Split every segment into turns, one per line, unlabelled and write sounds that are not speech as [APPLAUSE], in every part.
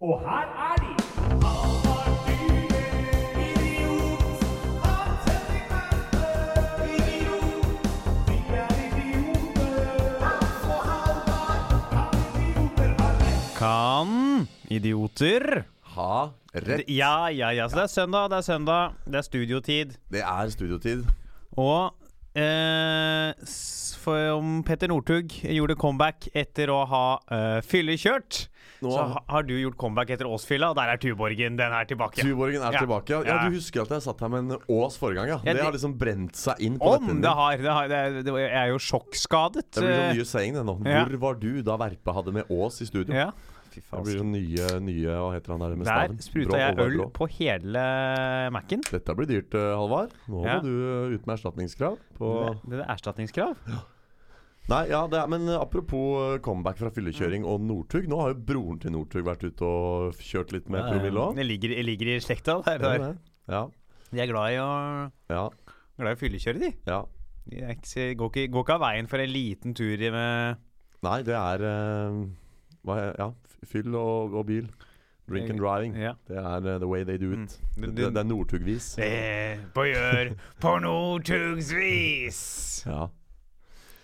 Og her er de!
Kan idioter
Ha rett.
Ja, ja, ja. Så det er søndag, det er søndag. Det er studiotid.
Det er studiotid.
Og eh, s- for om Petter Northug gjorde comeback etter å ha eh, fyllekjørt,
Nå-
så ha, har du gjort comeback etter Åsfylla, og der er Tuborgen. Den er tilbake.
Tuborgen er
Ja.
tilbake. Ja.
Ja.
ja, Du husker at jeg satt her med en Ås forrige gang? ja,
Ja,
Det har
det-
liksom brent seg inn på
Om
netthinnen
det
min.
har! Det har det er, det, jeg er jo sjokkskadet.
Det blir
eh,
sånn nye saying, det nå.
Ja.
Hvor var du da Verpe hadde med Ås i studio?
ja. Fy
Det
faen.
blir sånn nye, nye Hva heter han der med
Der
staven? Brå,
spruta jeg
Håvard
øl
Brå.
på hele Mac-en.
Dette blir dyrt, eh, Halvard. Nå
Ja.
må du eh, ut med erstatningskrav. På
Det er erstatningskrav.
Nei, ja, det er, men eh, apropos eh, comeback fra fyllekjøring og Northug. Nå har jo broren til Northug vært ute og f- kjørt litt med promille òg.
Det ligger, det ligger i slekta. Der, der.
Ja,
De er glad i å,
ja,
glad i å fyllekjøre, de.
ja.
De er ikke, så- går, ikke, går ikke av veien for en liten tur i med
Nei, det er eh, hva, er- Ja, f- fyll og, og bil. Drink and driving.
ja. Mm.
Det er eh, the way they do it. Det, det, det er Northug-vis.
Det på gjør på Northugsvis.
Ja.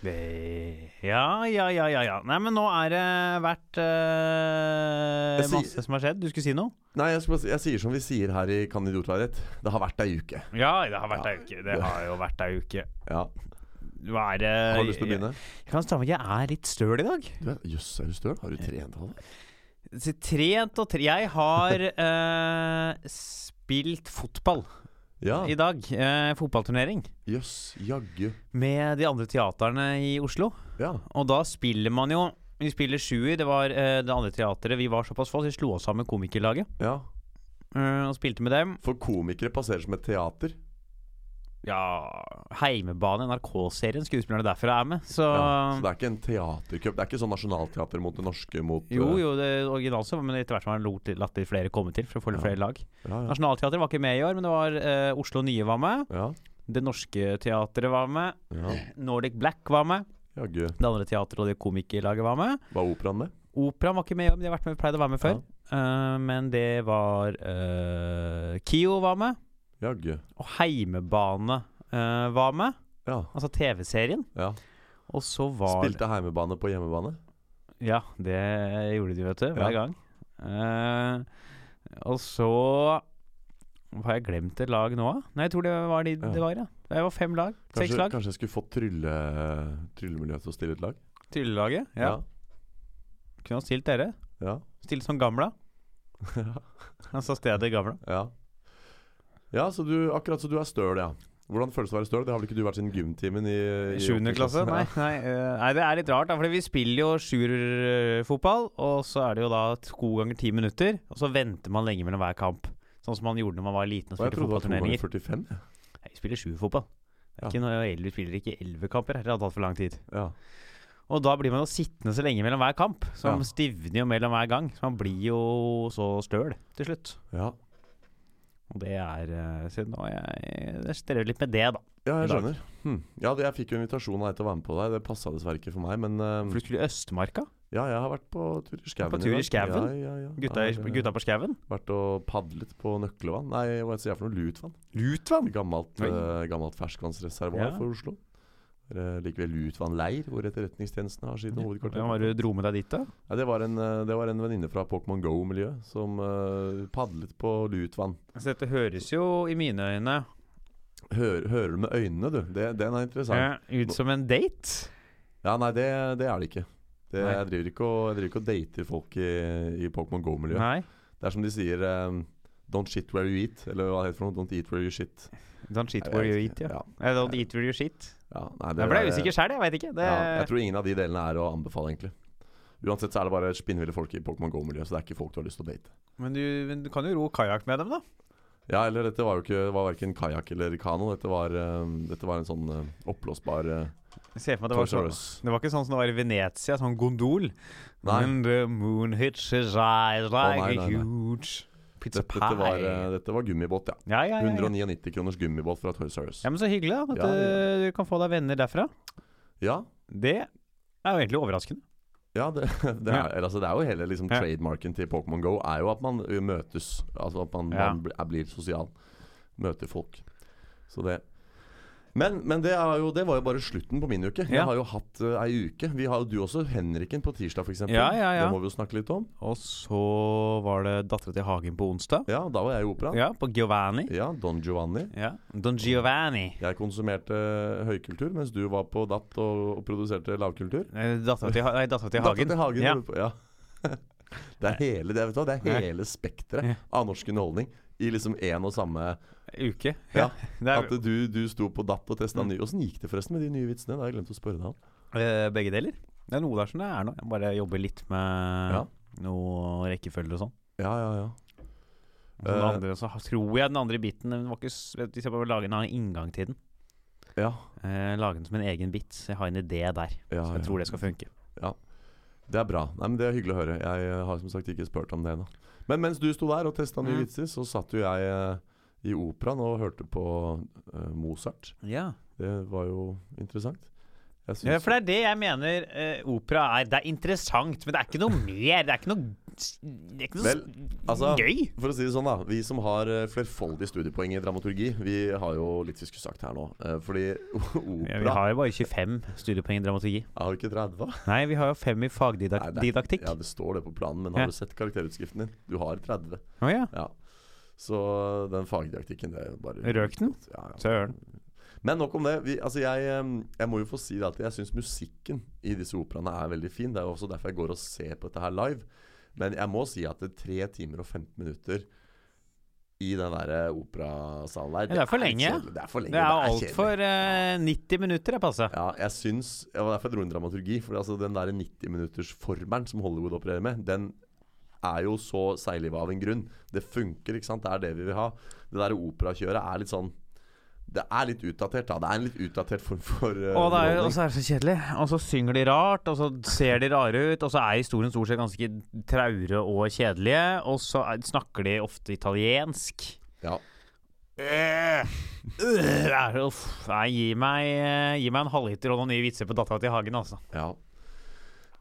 Det Ja, ja, ja, ja. ja. Nei, men nå er det vært eh,
Jeg sier-
masse som har skjedd. Du skulle si noe?
Nei, jeg, skulle bare si, jeg sier som vi sier her i Kan idiot være rett. Det har vært ei uke.
Ja, det har vært
Ja.
ei uke. Det har jo vært ei uke.
Ja.
Hva er det
Har du lyst til å begynne?
Jeg kan stemme, jeg er litt støl i dag.
Du er- Jøss, er du støl? Har du trent, Halvard?
Så Trent og tre... Jeg har eh, spilt fotball
Ja.
i dag. Eh, fotballturnering.
Jøss, jaggu.
Med de andre teaterne i Oslo.
Ja.
Og da spiller man jo Vi spiller sjuer. Det var eh, det andre teateret. Vi var såpass få, så vi slo oss sammen komikerlaget
ja.
eh, og spilte med dem.
For komikere passerer som et teater.
Ja Heimebane, NRK-serien. Skuespillerne derfra er med. Så,
Ja. Så det er ikke en teatercup. Det er ikke sånn Nationaltheatret mot det norske mot
Jo,
eh,
jo, det originalt så, men etter hvert har man lot- latt de flere komme til for å få litt
Ja.
flere lag.
Ja, ja.
Nationaltheatret var ikke med i år, men det var eh, Oslo Nye var med.
ja.
Det Norske Teatret var med.
ja.
Nordic Black var med.
Jaggu.
Det andre teatret og det komikerlaget var med.
Var operaen med?
Operaen var ikke med i år, men de har vært med, pleide å være med før. Eh, men det var eh, Kio var med.
Jaggu.
Og Heimebane eh, var med.
Ja.
Altså TV-serien.
ja.
Og så var
Spilte heimebane på hjemmebane?
Ja, det gjorde de, vet du. Hver
Ja.
gang. Eh, og så Har jeg glemt et lag nå? Nei, jeg tror det var de
Ja.
det var, ja. Det var fem lag.
Kanskje,
seks lag.
kanskje jeg skulle fått trylle, tryllemiljøet til å stille et lag?
Tryllelaget. Ja. Kunne ha stilt dere.
Ja.
Stilt som gamla.
Ja. [LAUGHS]
Altså stedet gamla.
ja. ja så du, akkurat så du er støl, ja. Hvordan føles det å være støl? Det har vel ikke du vært siden gymtimen i, i
Sjuende
åttende
klasse? Nei,
Ja.
nei, eh, nei, det er litt rart. da, Fordi vi spiller jo sjuerfotball, og så er det jo da to ganger ti minutter. Og så venter man lenge mellom hver kamp. Sånn som man gjorde når man var liten og
Og jeg
spilte
trodde det var to ganger
fotballturneringer.
45. jeg.
Nei, Vi spiller sjuerfotball. Det
Ja.
er Ikke noe, vi spiller ikke elleve kamper, det hadde tatt for lang tid.
Ja.
Og da blir man jo sittende så lenge mellom hver kamp, så man
Ja.
stivner jo mellom hver gang. Så man blir jo så støl til slutt.
ja.
Og det er eh, Så nå er jeg, jeg strever litt med det, da.
Ja,
I
jeg
dag.
skjønner. Hm. Ja, det, Jeg fikk jo invitasjon av deg til å være med på deg. Det passa dessverre ikke for meg, men eh,
For du skulle i Østmarka?
ja, jeg har vært på tur i skauen.
På tur i
dag.
skauen?
Ja, ja, ja.
Gutta,
Ja,
i-
ja.
gutta på skauen?
Vært og padlet på Nøklevann. Nei, hva sier jeg for noe? Lutvann.
Lutvann?
Gammelt,
Oi.
eh, gammelt ferskvannsreservoar
Ja.
for Oslo. Eh, likevel Lutvannleir, hvor etterretningstjenesten har sine hovedkvarter.
Ja, var du dro med deg dit, da?
Ja, det var en, eh, det var en venninne fra Pokémon Go-miljøet som eh, padlet på Lutvann.
Altså, dette høres jo i mine øyne
Hør, hører du med øynene, du? Det, den er interessant.
eh, ut som en date.
Ja, nei, det, det er det ikke. Det,
Nei.
jeg, driver ikke og, jeg driver ikke og dater folk i, i Pokémon Go-miljøet.
Nei.
Det er som de sier eh, Don't shit where you eat. Eller hva heter det for noe? Don't eat where you shit.
Don't shit
Nei,
where
jeg
you
vet
eat,
ikke.
ja.
Ja.
Eh, Don't eat where you shit.
Ja, nei, det
Jeg ble
er-
usikker sjæl, jeg veit ikke. Det,
Ja, jeg tror ingen av de delene er å anbefale, egentlig. Uansett så er det bare spinnville folk i Pokémon Go-miljøet, så det er ikke folk du har lyst til å date.
men, du, men du kan jo ro kajakk med dem, da.
Ja, eller dette var jo ikke var verken kajakk eller kano, dette var, eh, dette var en sånn eh, oppblåsbar uh,
Jeg ser for meg det var
Toys
sånn
R Us.
Det var ikke sånn som det var i Venezia, sånn gondol.
Nei.
When the moon hits his eyes like
nei,
a
nei, nei.
huge pizza
Dette,
pie.
dette, var, eh, dette var gummibåt, ja.
ja, ja, ja, ja.
199 kroners gummibåt fra Toy Service.
ja, men så hyggelig da, at
Ja, ja.
eh, du kan få deg venner derfra.
Ja,
Det er jo egentlig overraskende.
Ja, det, [LAUGHS] det,
Ja.
er, eller altså det er jo hele liksom,
Ja.
trademarken til Pokémon GO er jo at man ø, møtes. Altså at man,
Ja.
man bl- er, blir sosial. Møter folk. Så det Men, men det, er jo, det var jo bare slutten på min uke. Jeg
Ja.
har jo hatt ø, ei uke. Vi har jo du også, Henriken, på tirsdag f.eks.
Ja, ja, ja.
Det må vi jo snakke litt om.
Og så var det Dattera til Hagen på onsdag.
Ja, da var jeg i operaen. Ja.
Ja, på Giovanni.
Don Giovanni.
Ja. Don Giovanni.
Jeg konsumerte høykultur, mens du var på datt og, og produserte lavkultur.
Eh, Dattera til, Ha- nei, datteren til Hagen.
Datteren til Hagen.
Ja.
holder på- Ja. [LAUGHS] Det er hele, det, vet du, hva, det
Ja.
er hele spekteret
Ja.
av norsk underholdning i liksom én og samme
Uke.
Ja,
Det er Mm.
At du, du sto på datt og testa ny. Åssen gikk det forresten med de nye vitsene? Det har jeg glemt å spørre deg om.
eh, begge deler. Det er noe der som det er nå. Jeg bare jobber litt med
Ja.
noe rekkefølge og sånn.
Ja, ja, ja.
Og så den
Eh.
andre, så tror jeg den andre biten den var ikke, s- De skal bare lage en annen inngang til den.
Ja,
Eh, lage den som en egen bit. Så jeg har en idé der.
ja,
Så jeg
ja.
tror det skal funke.
Det er bra. Nei, men Det er hyggelig å høre. Jeg eh, har som sagt ikke spurt om det ennå. Men mens du sto der og testa nye
Mm.
vitser, så satt jo jeg eh, i operaen og hørte på eh, Mozart.
Ja.
Det var jo interessant. Jeg syns-
Ja, for det er det jeg mener eh, opera er. Det er interessant, men det er ikke noe mer. Det er ikke noe, s- det er ikke noe
Vel, altså-
s- gøy.
For å si det sånn, da. Vi som har eh, flerfoldige studiepoeng i dramaturgi, vi har jo litt fiskusagt her nå. Eh, Fordi [LAUGHS]
Ja,
opera
vi har jo bare 25 studiepoeng i dramaturgi.
Har du ikke 30?
Nei, vi har jo fem i
Nei, det er-
fagdidaktikk.
Ja, det står det på planen, men
Ja.
har du sett karakterutskriften din? Du har 30.
Å ja.
Ja. Så den fagdidaktikken, det er jo bare
Røk den?
Ja, ja.
Søren.
Men nok om det. Vi, altså jeg, em, jeg må jo få si det alltid. Jeg syns musikken i disse operaene er veldig fin. Det er jo også derfor jeg går og ser på dette her live. Men jeg må si at det er tre timer og 15 minutter i den derre operasalen der
Ja, det er for
litt
lenge.
kjedelig. Det er for lenge.
Det er
kjedelig.
altfor uh, 90 minutter, er passe.
Ja, jeg syns Det var derfor jeg dro inn dramaturgi. For altså, den der 90-minutters-formelen som Hollywood opererer med, den er jo så seiglivet av en grunn. Det funker, ikke sant. Det er det vi vil ha. Det der operakjøret er litt sånn Det er litt utdatert, da. Det er en litt utdatert form for
Og, det er,
uh,
jo- og
underholdning.
så er det så kjedelig. Og så synger de rart, og så ser de rare ut. Og så er historien stort sett ganske traure og kjedelige. Og så er, snakker de ofte italiensk.
Ja. Eh.
Øh, øh, er- uff, Nei, gi meg, eh, gi meg en halvliter og noen nye vitser på Dattera til Hagen, altså.
Ja.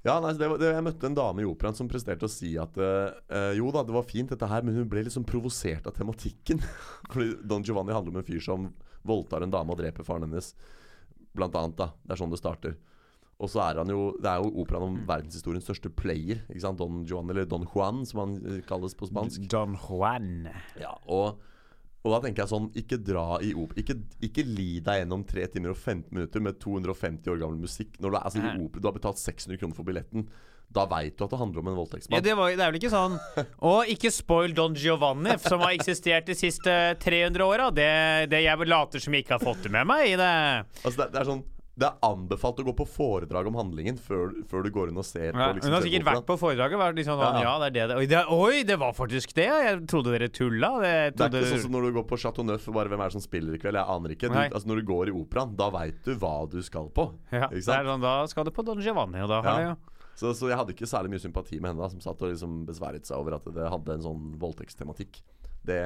Ja, nei, så det var, det, Jeg møtte en dame i operaen som presterte å si at eh, eh, jo da, det var fint dette her, men hun ble liksom provosert av tematikken. [LAUGHS] Fordi Don Giovanni handler om en fyr som voldtar en dame og dreper faren hennes. Blant annet, da. Det er sånn det starter. Og så er han jo Det er jo operaen om verdenshistoriens største player. Ikke sant? Don Giovanni, eller Don Juan, som han eh, kalles på spansk.
Don Juan.
Ja, og, og da tenker jeg sånn Ikke dra i opera ikke, ikke li deg gjennom 3 timer og 15 minutter med 250 år gammel musikk. Når du, er, altså, i
Nei.
opera, du har betalt 600 kroner for billetten. Da veit du at det handler om en
Ja,
voldtektsmann.
det, var, jo- det er vel ikke [LAUGHS] sånn Og ikke spoil Don Giovanni, som har eksistert de siste 300 åra. Det, det jeg later som jeg ikke har fått det med meg i det.
altså, det, er- det er sånn det er anbefalt å gå på foredrag om handlingen før, før du går inn og
Ja,
ser på liksom,
hun har
selve
sikkert
operaen.
vært på foredraget. Vært liksom sånn,
Ja,
ja.
ja.
det er det det oi, det. oi, det var faktisk det! ja, Jeg trodde dere tulla. Det, jeg
Det er
trodde,
ikke sånn som når du går på Chateau Neuf og bare Hvem er det som spiller i kveld? Jeg aner ikke. Du,
Nei.
altså, når du går i operaen, da veit du hva du skal på.
ja,
ikke
det
sant?
er sånn, da skal du på Don Giovanni, og da har
Ja.
ja.
Så, så jeg hadde ikke særlig mye sympati med henne da, som satt og liksom besværet seg over at det hadde en sånn voldtektstematikk. Det,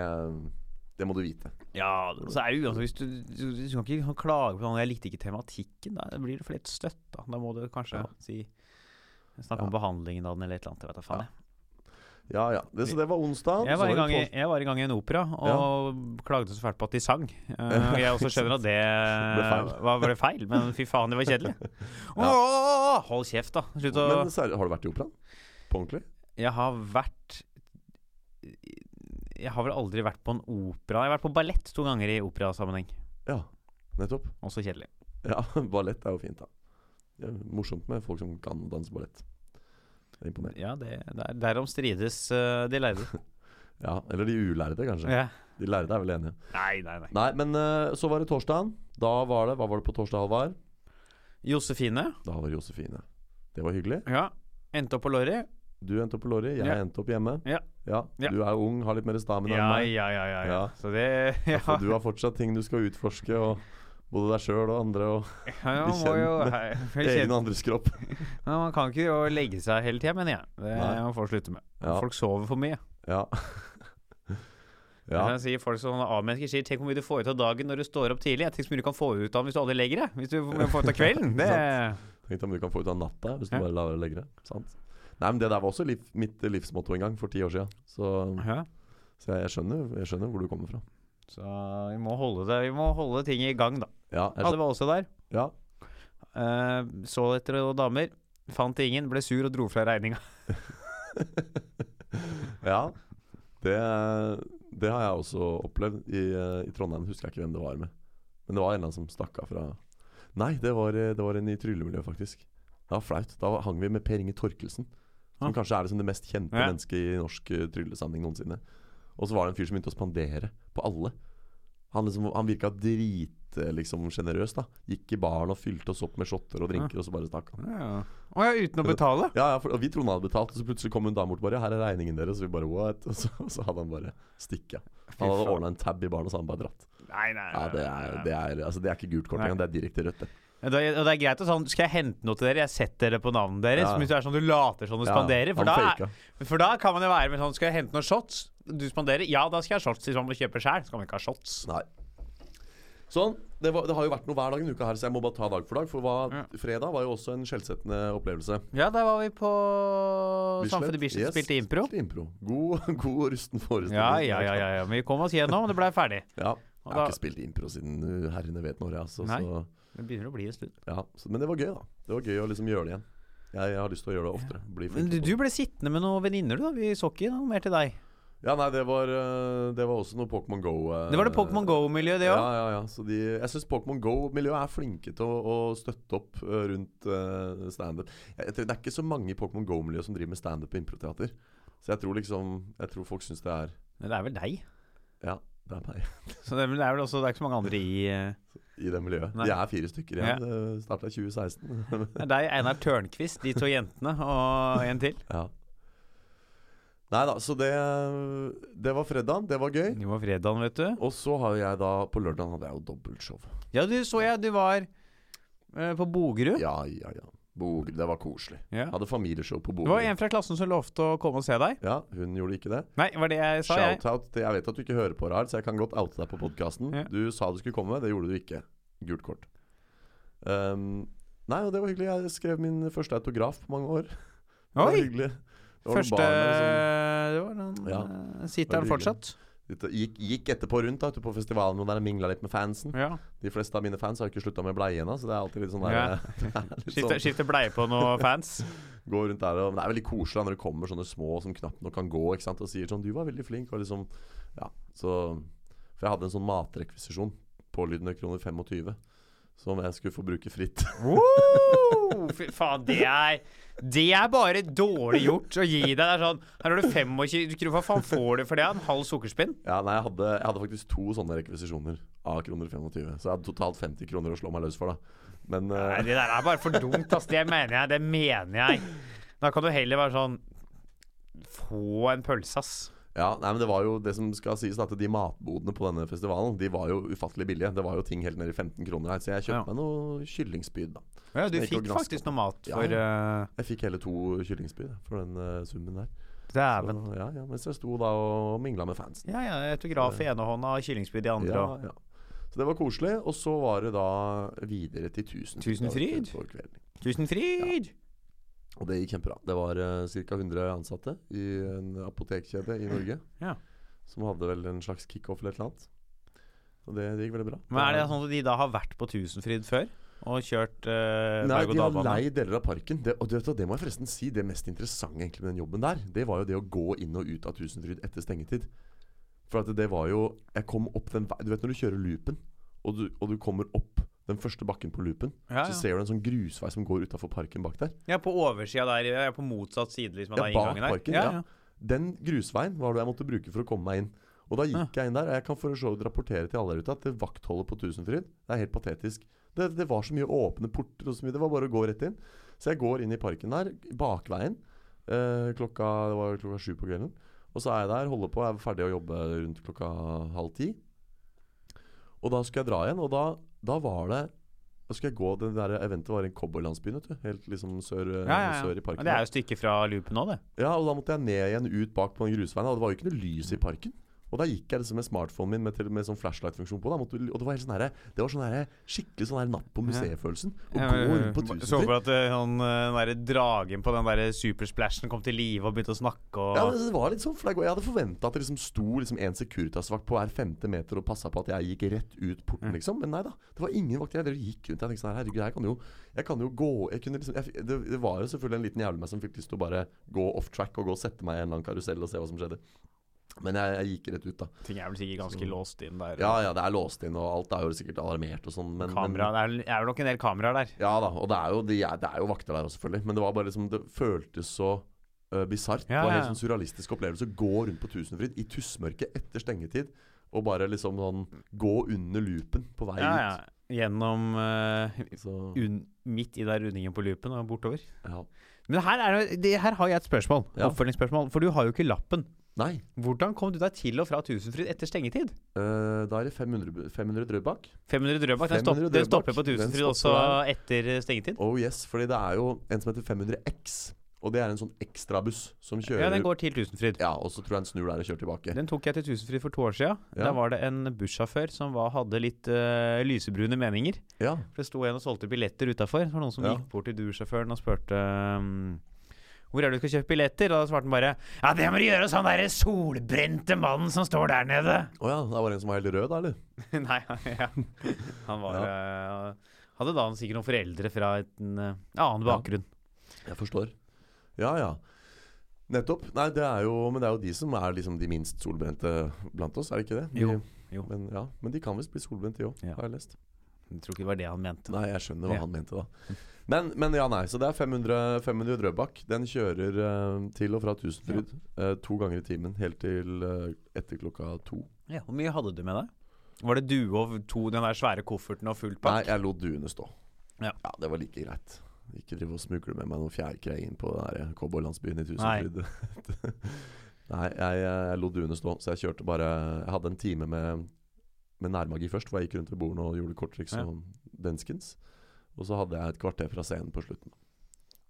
det må du vite.
ja, så er det jo altså, hvis du, du, du kan ikke klage på sånn Jeg likte ikke tematikken. Da blir det for litt støtt, da. Da må du kanskje
Ja.
si Snakke om
Ja.
behandlingen av den eller et eller annet. Jeg vet da faen.
Ja.
jeg.
Ja, ja. Det, så det var onsdag.
Jeg,
Så
var i
det
gang i,
tors-
jeg var i gang i en opera og klagde så fælt på at de sang. [LAUGHS] Eh, og jeg også skjønner at det eh,
feil.
var, var det feil, men fy faen, det var [LAUGHS] kjedelig. Åh, hold kjeft, da. Slutt å
Men seri- har du vært i operaen? På ordentlig?
Jeg har vært Jeg har vel aldri vært på en opera. Jeg har vært på ballett to ganger i operasammenheng.
Ja, nettopp.
Også kjedelig.
Ja, [LAUGHS] ballett er jo fint, da. Det er morsomt med folk som kan danse ballett. Det er Imponerende.
Ja, det, der, Derom strides eh, de lærde.
Ja, eller de ulærde, kanskje.
[LAUGHS] Ja.
De lærde er vel enige.
Nei, nei, nei.
Nei, men eh, så var det torsdagen. Da var det Hva var det på torsdag, Halvard?
Josefine.
Da var det Josefine. Det var hyggelig.
Ja. Endte opp på Lorry.
Du endte opp på Lorry, jeg
Ja.
endte opp hjemme.
Ja. Ja.
Du er ung, har litt mer stamina
Ja,
enn meg.
ja, ja, ja, ja.
Ja.
Så det [LAUGHS] ja.
Og du har fortsatt ting du skal utforske, og både deg sjøl og andre, og
Ja, man må jo hei, bli
egen
kjent.
og andres kropp.
Men Man kan ikke jo legge seg hele tida, mener jeg. Det
Nei.
man får slutte med.
Ja.
Folk sover for mye.
Ja. [LAUGHS]
Ja.
ja.
Jeg sier folk som A-mennesker sier 'tenk hvor mye du
[LAUGHS]
får ut av dagen når du står opp tidlig'. Jeg tenker så mye du kan få ut av den hvis du aldri legger deg. Hvis du får ut av kvelden. Det
Tenk om du kan få ut av natta hvis du
Ja.
bare lar være å legge deg. Sant? Nei, men Det der var også liv, mitt livsmotto en gang, for ti år siden. Så,
Ja.
så jeg, skjønner, jeg skjønner hvor du kommer fra.
Så vi må holde det Vi må holde ting i gang, da.
Ja, jeg
Alle var også der.
skjønner. ja.
Eh, så etter noen damer. Fant ingen, ble sur og dro fra
[LAUGHS]
regninga.
ja. Det, det har jeg også opplevd. I, eh, I Trondheim husker jeg ikke hvem det var med. Men det var en eller annen som stakk av fra Nei, det var, eh, det var en i tryllemiljøet, faktisk. Det var flaut. Da hang vi med Per Inge Torkelsen. Som
Ah.
kanskje er liksom det mest kjente
Ja.
mennesket i norsk eh, tryllesamling noensinne. Og så var det en fyr som begynte å spandere på alle. Han, liksom, han virka drit eh, liksom sjenerøs, da. Gikk i baren og fylte oss opp med shotter og drinker, og så bare stakk han.
Å ja. uten å betale?
Ja, ja for, og vi trodde han hadde betalt, og så plutselig kom en dame bort og bare 'Her er regningen deres.' Og vi bare 'what?' Og så, og så hadde han bare stikket. Han hadde ordna en tab i baren, og så hadde han bare dratt.
Nei, nei,
Ja, Det er, det er, altså, det er ikke gult kort
Nei.
engang, det er direkte rødt. Det.
Og det er greit å sånn Skal jeg hente noe til dere? Jeg setter det på navnet deres.
Ja.
Men hvis du er sånn du later som du
Ja,
spanderer for
han
da,
faka.
er- for da kan man jo være med sånn Skal jeg hente noen shots? Du spanderer? Ja, da skal jeg ha shots. Hvis man må kjøpe sjæl, så kan man ikke ha shots.
Nei. Sånn. Det, var, det har jo vært noe hver dag en uke her, så jeg må bare ta dag for dag. For hva,
Ja.
fredag var jo også en skjellsettende opplevelse.
Ja, der var vi på Samfunnet
Bislett,
Bislett
yes,
spilte impro.
spilte impro. God, [LAUGHS] god og rusten forestilling.
Ja, ja, ja, ja, ja. Men vi kom oss gjennom, og det blei ferdig.
Ja, Jeg har
da-
ikke spilt impro siden uh, herrene vet når, jeg, altså.
Nei.
Så,
Det begynner å bli en stund.
ja. Så, men det var gøy, da. Det var gøy å liksom gjøre det igjen. Jeg, jeg har lyst til å gjøre det oftere. Bli
Men
flink
du,
på
du ble sittende med noen venninner, du. da Vi så ikke noe mer til deg.
Ja, nei, det var, øh, det var også noe Pokémon Go. øh,
Det var det Pokémon Go-miljøet, det
Ja,
òg.
ja, ja. Så de, jeg syns Pokémon Go-miljøet er flinke til å, å støtte opp øh, rundt øh, standup. Jeg tror Det er ikke så mange i Pokémon Go-miljøet som driver med standup og improteater. Så jeg tror liksom Jeg tror folk syns det er
Men det er vel deg.
Ja, det er meg [LAUGHS]
Så det, er vel- det er vel også Det er ikke så mange andre i eh,
i det miljøet.
Nei.
De er fire stykker igjen. Det starta i 2016.
Det er deg, Einar Tørnquist, de to jentene og en til.
ja. Nei da, så det Det var fredagen. Det var gøy.
Det var fredagen, vet du.
Og så har jeg da På lørdagen hadde jeg jo dobbeltshow.
Ja, du så jeg du var eh, på Bogerud.
Ja, ja, ja. Boger, det var koselig.
Ja.
Hadde familieshow på
Det
bordet.
var en fra klassen som lovte å komme og se deg.
Ja, hun gjorde ikke det.
Nei, var det jeg sa, jeg.
Shoutout til Jeg vet at du ikke hører på, Rahel, så jeg kan godt oute deg på podkasten.
Ja.
Du sa du skulle komme, det gjorde du ikke. Gult kort. Um, nei, og det var hyggelig. Jeg skrev min første autograf på mange år. Det var
Oi!
hyggelig. Det var noen
Første
barn
Det var den
Ja.
eh,
Det var
Sitter han
hyggelig.
fortsatt?
som gikk, gikk etterpå rundt da, ute på festivalen og der mingla litt med fansen.
Ja.
De fleste av mine fans har jo ikke slutta med bleie ennå, så det er alltid litt sånn der
Ja.
det er litt sånn-
Skifter, skifter bleie på
[LAUGHS]
noen fans.
Gå rundt der og, Men det er veldig koselig da, når det kommer sånne små som knapt nok kan gå ikke sant? og sier sånn 'Du var veldig flink', og liksom Ja. Så For jeg hadde en sånn matrekvisisjon pålydende kroner 25 som jeg skulle få bruke fritt. [LAUGHS]
Woo! Fy faen, det er Det er bare dårlig gjort å gi deg. Det er sånn Her har du 25 kroner, hva faen får du for det? En halv sukkerspinn?
Ja, nei, jeg hadde, jeg hadde faktisk to sånne rekvisisjoner av kroner 25, så jeg hadde totalt 50 kroner å slå meg løs for, da. Men eh,
Nei, det der er bare for dumt, ass. Det mener jeg. Det mener jeg. Da kan du heller være sånn Få en pølse, ass.
Ja, nei, men det var jo det som skal sies da, at de matbodene på denne festivalen De var jo ufattelig billige. Det var jo ting helt ned i 15 kroner her. Så jeg
Ja.
kjøpte meg noe kyllingspyd, da.
Ja, du
Snek og
fikk
gnask.
faktisk noe mat
Ja,
for uh,
Jeg fikk hele to kyllingspyd jeg, for den eh, summen der.
Dæven.
Så, ja, ja, mens jeg sto da og mingla med fansen.
Ja, ja. Autograf i ene hånda og kyllingspyd i andre.
Ja,
og-
ja. Så det var koselig. Og så var det da videre til Tusenfryd.
Tusenfryd?
på kvelden.
Tusenfryd!
Og det gikk kjempebra. Det var uh, ca. 100 ansatte i en apotekkjede i Norge.
Ja.
Som hadde vel en slags kickoff eller et eller annet. Og det, det gikk veldig bra.
Men er det sånn at de da har vært på Tusenfryd før? Og kjørt uh,
Nei, de har
berg-og-dal-bane?
leid deler av parken. Det, og du vet, hva, det må jeg forresten si, det mest interessante egentlig med den jobben der, det var jo det å gå inn og ut av Tusenfryd etter stengetid. For at det var jo Jeg kom opp den veien Du vet når du kjører loopen, og du, og du kommer opp den første bakken på loopen,
Ja,
så
ja.
ser du en sånn grusvei som går utafor parken bak der.
Ja, på oversida der. Ja, på motsatt side liksom, av
Ja,
den
bak
inngangen der.
parken, ja. Den grusveien var det jeg måtte bruke for å komme meg inn. Og da gikk jeg inn der, og jeg kan for så vidt rapportere til alle der ute at det vaktholdet på Tusenfryd Det er helt patetisk. Det, det var så mye åpne porter og så mye. Det var bare å gå rett inn. Så jeg går inn i parken der, bakveien. Eh, klokka, det var klokka sju på kvelden. Og så er jeg der, holder på, jeg er ferdig å jobbe rundt klokka halv ti. Og da skulle jeg dra igjen, og da, da var det Da skulle jeg gå Det der eventet var i en cowboylandsby, vet du. Helt liksom sør,
Ja, ja, ja.
sør i
Men
parken.
Det er jo et stykke fra loopen nå, det.
Ja, og da måtte jeg ned igjen ut bak på den grusveien, og det var jo ikke noe lys i parken. Og da gikk jeg liksom med smartphonen min med, til- med sånn flashlight-funksjon på. Da, måtte, du- og det var, helt sånn herre- det var sånn herre- skikkelig sånn her napp på museet-følelsen. Å
Ja,
gå rundt på
men- Så
tusenfryd.
for at eh, han, eh, den der dragen på den der supersplashen kom til live og begynte å snakke og
Ja, men det var litt sånn flaut. Jeg hadde forventa at det liksom sto liksom en Securitas-vakt på hver femte meter og passa på at jeg gikk rett ut porten, liksom. Men nei da. Det var ingen vakter. Jeg drev og gikk rundt. Jeg tenkte sånn her, herregud, jeg kan jo, jeg kan jo gå jeg kunne liksom, jeg, f- det, det var jo selvfølgelig en liten jævel i meg som fikk lyst til å bare gå off track og gå og sette meg i en eller annen karusell og se hva som skjedde. Men jeg, jeg gikk rett ut, da.
Ting er vel sikkert ganske låst inn der.
Ja ja, det er låst inn, og alt er jo sikkert alarmert og sånn, men, men
Kamera, det er, det er vel nok en del kameraer der.
Ja da, og det er jo, de er, det er jo vakter der også, selvfølgelig. Men det var bare liksom, det føltes så uh, bisart.
Ja,
det var en
ja,
helt
ja.
sånn surrealistisk opplevelse å gå rundt på Tusenfryd i tussmørket etter stengetid. Og bare liksom sånn gå under loopen på vei
Ja, ja. Gjennom eh,
ut. Så,
un, Midt i der rundingen på loopen og bortover.
ja.
Men her, er, det- det, her har jeg et spørsmål.
Ja.
Oppfølgingsspørsmål. For du har jo ikke lappen.
Nei,
Hvordan kom du deg til og fra Tusenfryd etter stengetid?
eh, da er det 500, bu- 500 Drøbak.
500 Drøbak, den,
500
stopp, den
Drøbak,
stopper på
den
Tusenfryd
stopper
også etter eh, stengetid?
Oh yes, fordi det er jo en som heter 500X. Og det er en sånn ekstrabuss som kjører
Ja, den går til Tusenfryd.
Ja, og så tror jeg den snur der og kjører tilbake.
Den tok jeg til Tusenfryd for to år siden.
Ja.
Da var det en bussjåfør som var, hadde litt eh, lysebrune meninger.
Ja,
For det sto en og solgte billetter utafor. Det var noen som
Ja.
gikk bort til bussjåføren og spurte um, hvor er det du skal kjøpe billetter? Og da svarte han bare Ja, det må du gjøre hos han derre solbrente mannen som står der nede.
Å ja, det var en som var helt rød, da, eller?
[LAUGHS] Nei, ja. han var eh, Hadde da sikkert noen foreldre fra en eh, annen
Ja.
bakgrunn.
Jeg forstår. Ja, ja. Nettopp. Nei, det er jo, men det er jo de som er liksom de minst solbrente blant oss, er det ikke det? De,
Jo, jo.
Men, ja, men de kan visst bli solbrente, de òg,
Ja.
har jeg lest.
Jeg tror ikke det var det han mente.
Nei, jeg skjønner hva
Ja.
han mente, da. Men, men ja, nei. Så det er 500, 500 Drøbak. Den kjører eh, til og fra Tusenfryd eh, to ganger i timen helt til eh, etter klokka to.
Ja, hvor mye hadde du med deg? Var det du og to, den der svære kofferten og full
Nei,
pakk?
jeg lot duene stå.
Ja.
det var like greit. Ikke drive og smugle med meg noe fjærkre inn på den der cowboylandsbyen i Tusenfryd. [LAUGHS] Nei, jeg, jeg lot duene stå, så jeg kjørte bare Jeg hadde en time med, med nærmagi først, hvor jeg gikk rundt ved bordene og gjorde korttriks
Ja.
og denskens. Og så hadde jeg et kvarter fra scenen på slutten.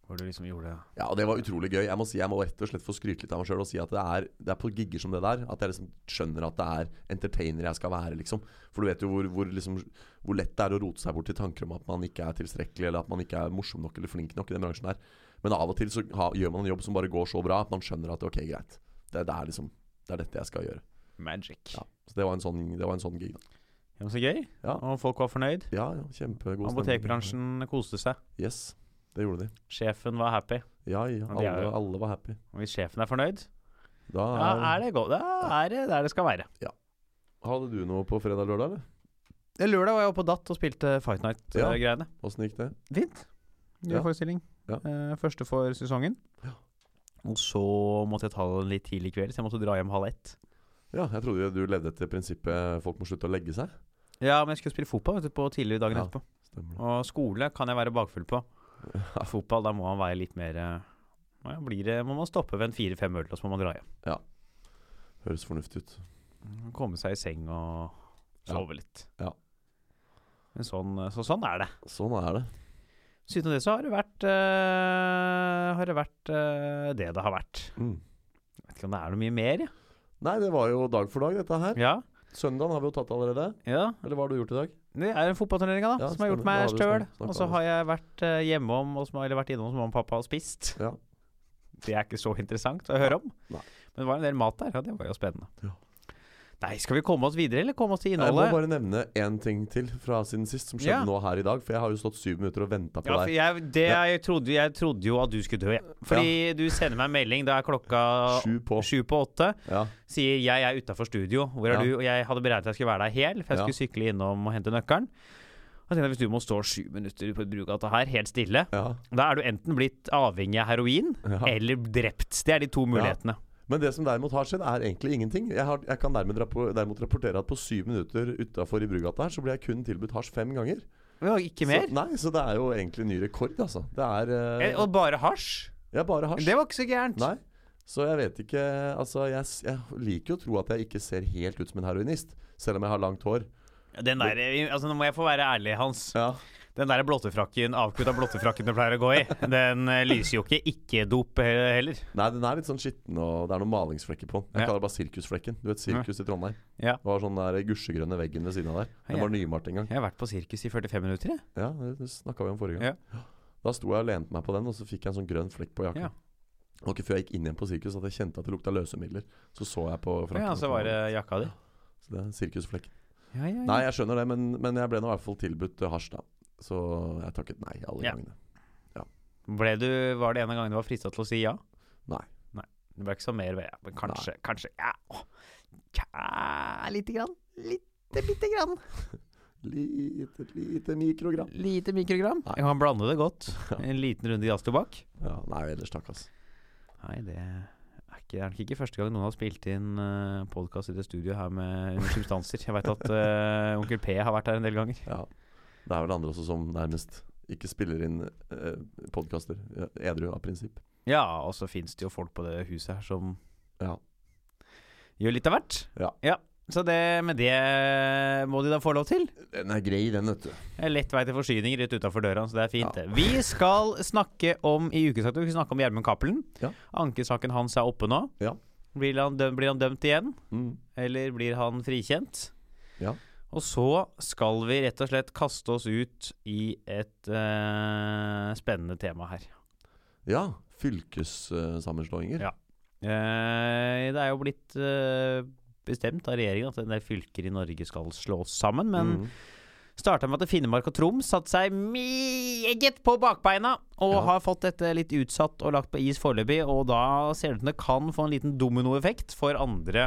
Hvor du liksom gjorde
Ja, og Det var utrolig gøy. Jeg må si, jeg må rett og slett få skryte litt av meg sjøl og si at det er, det er på gigger som det der at jeg liksom skjønner at det er entertainer jeg skal være. liksom For du vet jo hvor, hvor, liksom, hvor lett det er å rote seg bort til tanker om at man ikke er tilstrekkelig, eller at man ikke er morsom nok eller flink nok i den bransjen der. Men av og til så ha, gjør man en jobb som bare går så bra at man skjønner at ok, greit. Det, det er liksom Det er dette jeg skal gjøre.
magic.
Ja. Så det var en sånn, det var en sånn gig, da.
Det var så gøy.
Ja.
Og folk var fornøyd.
Ja, ja, kjempegod stemning.
Apotekbransjen koste seg.
Yes, det gjorde de.
Sjefen var happy.
Ja, ja.
Men de er
Alle,
jo-
alle var happy.
Og hvis sjefen er fornøyd,
Da
da er det godt. Da er det der det skal være.
Hadde du noe på fredag-lørdag, eller?
Lørdag var jeg oppe på Datt og spilte Fight eh,
Ja.
Night-greiene.
Åssen gikk det?
Fint. Ny
Ja.
forestilling.
Ja.
Eh, første for sesongen. Og så måtte jeg ta den litt tidlig i kveld, så jeg måtte dra hjem halv ett.
Ja, jeg trodde jo du levde etter prinsippet folk må slutte å legge seg.
Ja, men jeg skulle spille fotball vet du, på tidligere dagen
Ja.
etterpå.
Stemmer det.
Og skole kan jeg være bakfull på. Fotball, da må man være litt mer eh, ja, blir det, Må man stoppe ved en fire-fem øl, og så må man dra hjem.
Høres fornuftig ut.
Komme seg i seng og
Ja.
sove litt.
Ja.
Men sånn, så sånn er det.
Sånn er det.
Siden det så har det vært eh, Har det vært eh, det det har vært.
Mm.
Jeg vet ikke om det er noe mye mer, jeg.
Nei, det var jo dag for dag, dette her.
Ja.
Søndagen har vi jo tatt allerede.
ja.
Eller hva har du gjort i dag?
Det er fotballturneringa, da,
Ja,
som har gjort
stemmer.
meg
Det har vi
støl.
snak- snakket
Og så
om.
har jeg vært eh, hjemom, og som, eller vært innom hos mamma og pappa og spist. [LAUGHS]
Ja.
Det er ikke så interessant å høre om.
Nei.
Men det var en del mat der, og det var jo spennende.
Ja.
Nei, skal vi komme oss videre, eller komme oss til
Jeg må
innholdet?
bare nevne én ting til fra siden sist, som
Ja.
skjedde nå her i dag. For jeg har jo stått syv minutter og venta på
Ja, for
deg.
jeg, det jeg, trodde, jeg trodde jo at du skulle dø, jeg. Fordi du sender meg en melding, da er klokka
Sju på.
sju på åtte.
Ja.
Sier 'jeg er utafor studio, hvor er
Ja.
du?' Og jeg hadde beregnet at jeg skulle være der hel, for jeg
Ja.
skulle sykle innom og hente nøkkelen. Og tenkte jeg, Hvis du må stå sju minutter på Brugata her, helt stille,
Ja.
da er du enten blitt avhengig av heroin
Ja.
eller drept. Det er de to mulighetene.
Men det som derimot har skjedd, er egentlig ingenting. Jeg, har, jeg kan dermed, rapo- derimot rapportere at på syv minutter utafor i Brugata her, så ble jeg kun tilbudt hasj fem ganger.
Ja. Ikke mer.
Så, nei, så det er jo egentlig ny rekord, altså. Det er eh,
Eh, Og bare hasj.
Jeg bare hasj.
Det var ikke så gærent.
Nei. Så jeg vet ikke Altså, jeg, s- jeg liker jo å tro at jeg ikke ser helt ut som en heroinist, selv om jeg har langt hår.
eh, Den der, altså, nå må jeg få være ærlig, Hans.
Ja.
Den der blottefrakken, avkutta blottefrakken du pleier å gå i, [LAUGHS] den eh, lyser jo ikke ikke-dop he- heller.
Nei, den er litt sånn skitten, og det er noen malingsflekker på den. Jeg
Ja.
kaller det bare sirkusflekken. Du vet sirkus i Trondheim?
Ja.
Det var sånn der gusjegrønne veggen ved siden av der. Den
Ja.
var nymalt en gang.
Jeg har vært på sirkus i 45 minutter, jeg.
Ja, det snakka vi om forrige gang. Da sto jeg og lente meg på den, og så fikk jeg en sånn grønn flekk på jakka.
Ja.
Det var ikke før jeg gikk inn igjen på sirkus at jeg kjente at det lukta løsemidler. Så så jeg på frakken.
Ja,
at
så var det
var-
jakka di.
så det er en sirkusflekk.
Ja, ja, ja.
Nei, jeg skjønner det, men, men jeg ble nå i hvert fall tilbudt eh, hasj, da. Så jeg takket nei alle
Ja.
gangene.
Ble du, var det en av gangene du var frista til å si ja?
Nei.
Det ble ikke så mer ved ja, men kanskje, kanskje ja. Åh, ja, Lite grann. Lite, lite grann.
Lite, lite
[LAUGHS]
mikrogram.
Lite mikrogram.
Nei.
Jeg kan blande det godt. En liten runde jazztobakk.
Ja, nei, ellers takk, ass.
Nei, det er ikke, er nok ikke første gang noen har spilt inn uh, podkast i det studioet her med substanser. Jeg [LAUGHS] veit at eh, onkel P har vært her en del ganger.
Ja. Det er vel andre også som nærmest ikke spiller inn eh, podkaster eh, edru av prinsipp.
Ja, og så fins det jo folk på det huset her som
Ja.
gjør litt av hvert.
Ja.
Så det, med det må de da få lov til.
Den er grei, den, vet du.
Det er Lett vei til forsyninger rett utafor døra, så det er fint. det. Vi skal snakke om i ukesakten, vi skal snakke om Gjermund Cappelen.
Ja.
Ankesaken hans er oppe nå.
Ja.
Blir, han dømt, blir han dømt igjen,
Mm.
eller blir han frikjent?
Ja.
Og så skal vi rett og slett kaste oss ut i et eh, spennende tema her.
Ja. Fylkessammenslåinger.
Ja. Eh, det er jo blitt eh, bestemt av regjeringen at en del fylker i Norge skal slås sammen, men
Mm.
Starta med at Finnmark og Troms satte seg meget på bakbeina, og
Ja.
har fått dette litt utsatt og lagt på is foreløpig. Og da ser det ut som det kan få en liten dominoeffekt for andre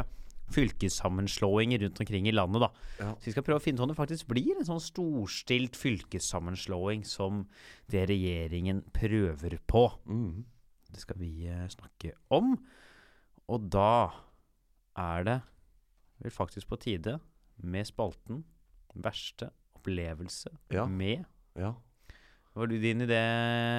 fylkessammenslåinger rundt omkring i landet, da.
Ja.
Så vi skal prøve å finne ut om det faktisk blir en sånn storstilt fylkessammenslåing som det regjeringen prøver på.
Mm.
Det skal vi eh, snakke om. Og da er det vel faktisk på tide med spalten Verste opplevelse
Ja.
med
ja.
Var du din idé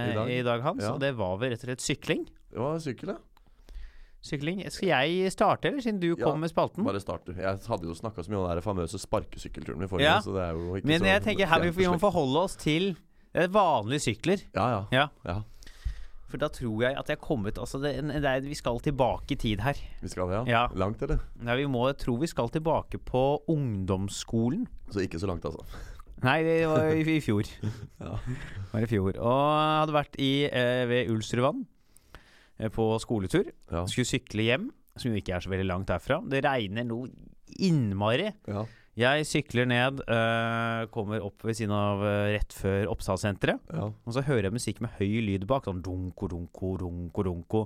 i dag,
dag?
Hans?
Ja.
Og det var vel rett og slett sykling.
Det var sykkel, ja.
Sykling. Skal jeg starte, eller siden du
Ja,
kom med spalten?
Bare starter. Jeg hadde jo snakka så mye om den der famøse sparkesykkelturen min forrige
Ja.
gang, så det er jo ikke
Men
så
jeg tenker her vi-
fjernt
vi må
slekt.
forholde oss til det er vanlige sykler.
Ja, ja.
Ja.
ja.
For da tror jeg at jeg er kommet altså det, det er, Vi skal tilbake i tid her.
Vi skal det, ja.
Ja.
Langt, eller?
Nei, vi må, jeg tror vi skal tilbake på ungdomsskolen.
Så ikke så langt, altså.
Nei, det var i, i fjor.
[LAUGHS] Ja.
Det var i fjor. Og jeg hadde vært i, eh, ved Ulstervann eh, på skoletur.
Ja.
Skulle sykle hjem, som jo ikke er så veldig langt derfra. Det regner noe innmari.
ja.
Jeg sykler ned, eh, kommer opp ved siden av eh, rett før Oppsalsenteret.
ja.
Og så hører jeg musikk med høy lyd bak. Sånn dunko, dunko, dunko, dunko.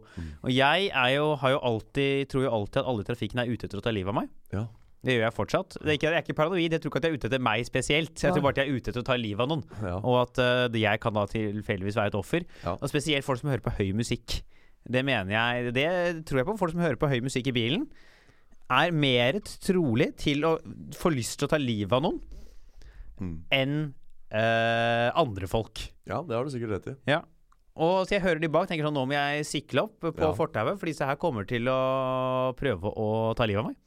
Og jeg er jo, har jo alltid, tror jo alltid at alle i trafikken er ute etter å ta livet av meg.
Ja.
Det gjør jeg fortsatt. Det er ikke, jeg er ikke paranoid, jeg tror ikke at de er ute etter meg spesielt. Jeg tror
Nei.
bare at jeg er ute etter å ta livet av noen.
ja.
Og at eh, det jeg kan da tilfeldigvis være et offer.
Ja.
Og spesielt folk som hører på høy musikk. Det mener jeg Det tror jeg på. Folk som hører på høy musikk i bilen, er mer trolig til å få lyst til å ta livet av noen
Mm.
enn eh, andre folk.
ja, det har du sikkert rett i.
Og så jeg hører de bak, tenker sånn Nå må jeg sikle opp på
Ja.
fortauet, for disse her kommer til å prøve å ta livet av meg.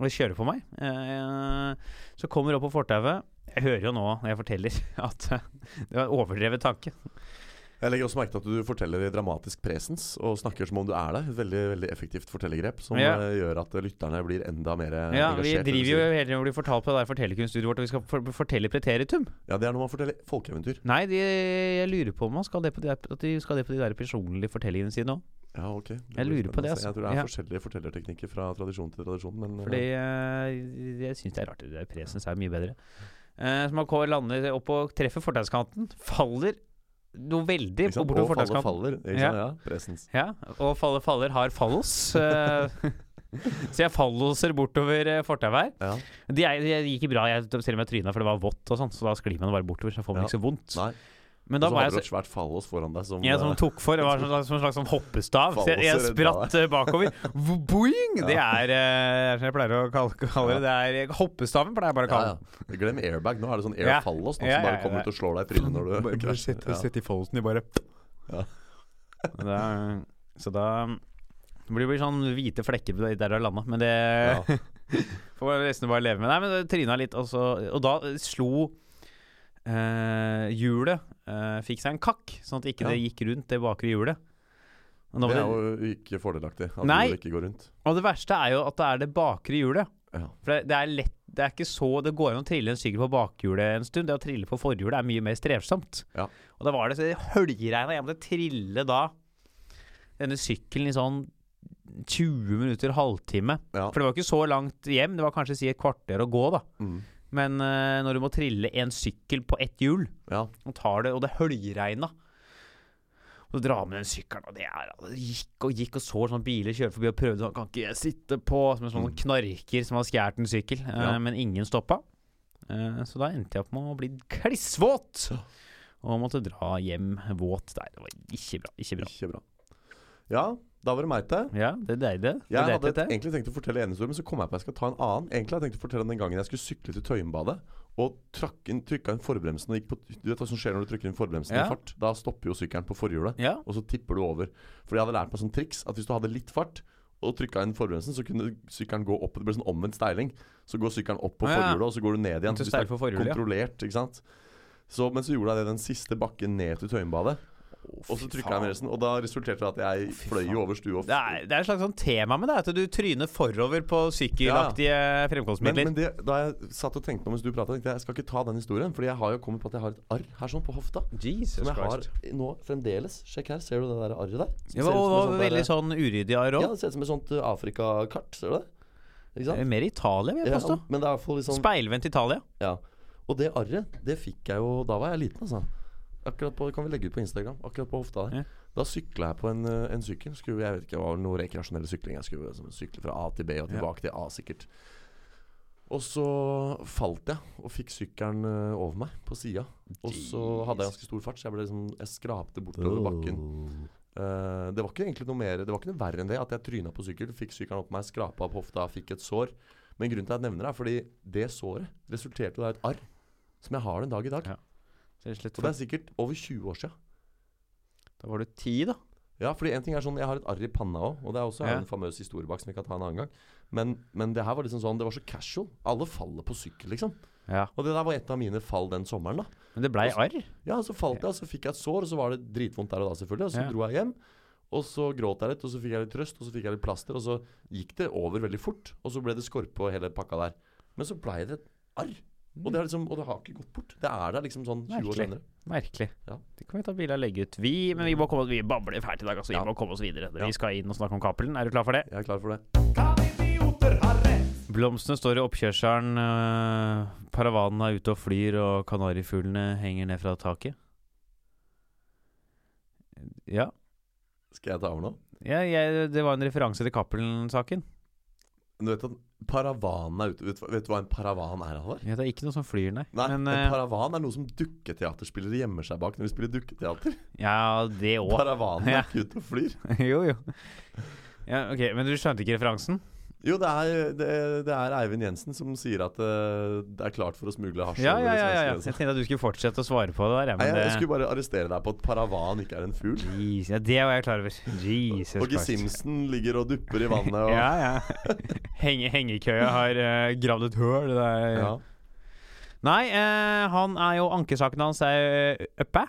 Og kjøre på meg. Eh, Så kommer opp på fortauet. Jeg hører jo nå når jeg forteller [LAUGHS] at eh, det var en overdrevet tanke.
Jeg legger også merke til at du forteller i dramatisk presens og snakker som om du er der. Et veldig veldig effektivt fortellergrep som
Ja.
eh, gjør at eh, lytterne blir enda mer eh,
Ja, vi
engasjert. i det du
driver jo
sier.
hele tiden og blir fortalt på det der fortellerkunststudiet vårt at vi skal for fortelle preteritum.
Ja, Det er når man forteller folkeeventyr.
Nei, de, jeg lurer på om man skal det på de der, at de skal det på de der personlige fortellingene sine òg.
Ja, ok. Det
Jeg
blir
lurer på det,
spennende.
altså.
Jeg tror det er
Ja.
forskjellige fortellerteknikker fra tradisjon til tradisjon. Men eh,
Fordi eh, jeg syns det er rart. Det der presens er mye bedre. Eh, så man går- lander opp og treffer fortauskanten. Faller noe veldig
ikke sant?
bortover
Og
fortauskanten.
faller, faller. Ikke
Ja.
sant? Ja. Presens.
Ja, og faller, faller har fallos. eh,
[LAUGHS]
så jeg falloser bortover eh, fortauet her.
Ja.
Det er- det gikk ikke bra, jeg, selv om jeg tryna, for det var vått og sånn. Så da sklir man bare bortover, så jeg får man
Ja.
ikke så vondt.
Nei. sånn
Men da
Og så
var jeg så
hadde du et svært fallos foran deg som
Jeg
eh,
som tok for, det var som, som en slags sånn hoppestav. Så jeg, jeg
Falloser,
spratt eh, bakover. Vo- Boing! Det
Ja.
er eh, som jeg pleier å kalle, kalle det. det er, hoppestaven pleier jeg bare å
ja,
kalle den.
ja. Glem airbag. Nå er det sånn air
Ja.
fallos nå,
Ja, ja,
som bare
ja,
kommer
det
ut og slår deg i trynet
[LAUGHS]
når du krasjer. Ja.
i folden i bare
Ja.
Da- Så da det blir blir sånn hvite flekker der der du har landa, men det [LAUGHS]
Ja.
får man nesten bare leve med. Nei, men det tryna litt, og, så, og da slo eh, eh, hjulet eh, fikk seg en kakk, sånn at ikke det gikk rundt det bakre hjulet. Og, da
Det
var
er
det,
jo ikke fordelaktig at
Nei.
hjulet ikke går rundt.
og det verste er jo at det er det bakre hjulet.
Ja.
For det, det er lett Det er ikke så Det går an å trille en sykkel på bakhjulet en stund. Det å trille på forhjulet er mye mer strevsomt.
Ja.
Og da var det så høljeregna. Jeg måtte trille da denne sykkelen i sånn 20 minutter, halvtime.
Ja.
For det var ikke så langt hjem. Det var kanskje si et kvarter å gå, da.
Mm.
Men eh, når du må trille en sykkel på ett hjul,
ja.
og tar det, og det høljregna. Og du drar med den sykkelen, og det er og Det gikk og gikk, og så sånne biler kjøre forbi og prøvde sånn Kan ikke jeg sitte på? Som en sånn
Mm.
knarker som har skjært en sykkel. eh,
Ja.
men ingen stoppa. Eh, så da endte jeg opp med å bli klissvåt! Og måtte dra hjem våt der. Det var ikke bra. Ikke bra.
Ikke bra. Ja, da var det meg til.
Ja, det er deg, det. Det
Jeg
er
hadde
deg, det.
egentlig tenkt å fortelle en historie, men så kom jeg på at jeg skal ta en annen. Egentlig hadde jeg tenkt å fortelle om den gangen jeg skulle sykle til Tøyenbadet og trakk inn, trykka inn forbremsen og gikk på Du vet hva som skjer når du trykker inn forbremsen
Ja.
i fart? Da stopper jo sykkelen på forhjulet,
Ja.
og så tipper du over. For jeg hadde lært meg sånn triks at hvis du hadde litt fart og trykka inn forbremsen, så kunne sykkelen gå opp. Det ble sånn omvendt steiling. Så går sykkelen opp på
Å, ja.
forhjulet, og så går du ned igjen.
Til
Hvis det er
steil for forhjulet, ja.
kontrollert, ikke sant. Så, men så gjorde jeg det den siste bakken ned til Tøyenbadet. Og så trykka jeg med resten, og da resulterte det i at jeg
Fy
fløy
faen.
jo over stua. og
Det er, det er et slags sånn tema med det, at du tryner forover på sykkelaktige
Men,
fremkomstmidler.
men det, da jeg satt og tenkte nå mens du pratet, tenkte jeg jeg skal ikke ta den historien. Fordi jeg har jo kommet på at jeg har et arr her sånn på hofta.
Jesus
Som jeg har
Christ.
nå fremdeles. Sjekk her, ser du det der arret der? Som
Det
ser
var,
ut som
var,
en sånn der-
veldig sånn uryddig arr
Ja,
òg.
det ser ut som et sånt uh, Afrikakart, ser du det? Ikke sant?
Eh, Mer Italia, vil jeg
Ja,
påstå.
men det er i hvert fall litt sånn
Speilvendt Italia.
Ja. Og det arret, det fikk jeg jo Da var jeg liten, altså. Akkurat på, kan vi legge ut på Instagram. Akkurat på hofta der.
Ja.
Da sykla jeg på en, eh, en sykkel. Skulle, jeg vet ikke, Det var vel noe rekreasjonell sykling. Jeg skulle liksom, sykle fra A til B og
Ja.
tilbake til A, sikkert. Og så falt jeg og fikk sykkelen eh, over meg på sida. Og så hadde jeg ganske stor fart, så jeg, ble liksom, jeg skrapte
Oh.
bortover bakken. Eh, det var ikke egentlig noe mer Det var ikke noe verre enn det at jeg tryna på sykkel, fikk sykkelen opp meg, skrapa opp hofta, fikk et sår. Men grunnen til at jeg nevner det, er fordi det såret resulterte jo i et arr som jeg har den dag i dag.
Ja. Så rett og slett
Og det er sikkert over 20 år sia.
Da var du ti, da.
Ja, fordi en ting er sånn, Jeg har et arr i panna òg, og det er også
Ja.
en famøs historie bak som vi kan ta en annen gang. Men, men det her var liksom sånn, det var så casual. Alle faller på sykkel, liksom.
Ja.
Og det der var et av mine fall den sommeren, da.
Men det blei arr.
Ja, så falt jeg, og så fikk jeg et sår, og så var det dritvondt der og da, selvfølgelig. Og så
Ja.
dro jeg hjem, og så gråt jeg litt, og så fikk jeg litt trøst, og så fikk jeg litt plaster, og så gikk det over veldig fort, og så ble det skorpe og hele pakka der. Men så blei det et arr, og det, er liksom, og det har ikke gått bort. Det er der liksom sånn 20 år
Merkelig.
senere.
Merkelig.
Ja.
Det kan vi ta bilde av og legge ut. Vi, men vi må komme oss, vi babler fælt i dag, altså.
Ja.
Vi må komme oss videre.
Ja.
Vi skal inn og snakke om Cappelen. Er du klar for det?
Jeg er klar for det.
Blomstene står i oppkjørselen, øh, paravanen er ute og flyr, og kanarifuglene henger ned fra taket. Ja.
Skal jeg ta over nå?
ja jeg, det var en referanse til Cappelen-saken.
Du vet at paravanen er ute Vet, du hva- vet du hva en paravan er, Halvard?
Ja, det er ikke noe som flyr, nei.
Nei,
Men,
en
øh,
paravan er noe som dukketeaterspillere gjemmer seg bak når de spiller dukketeater.
ja, det òg.
Paravanen
Ja.
er ikke ute og flyr.
[LAUGHS] jo, jo. Ja, ok, Men du skjønte ikke referansen?
Jo, det er, det, det er Eivind Jensen som sier at eh, det er klart for å smugle hasj.
Ja,
over
ja, ja, ja, ja.
svenskegrensen.
Jeg tenkte at du skulle fortsette å svare på det der. ja,
Nei,
Men
altså. jeg, jeg
det,
skulle bare arrestere deg på at paravan ikke er en fugl.
Jeez, ja, det var jeg klar over. Jesus
Og
Christ.
Simpson ligger og dupper i vannet. Og,
[LAUGHS] Ja, ja. Henge, hengekøya har eh, gravd et høl. Det er,
ja.
Nei, eh, han er jo ankesaken hans er eh, oppe.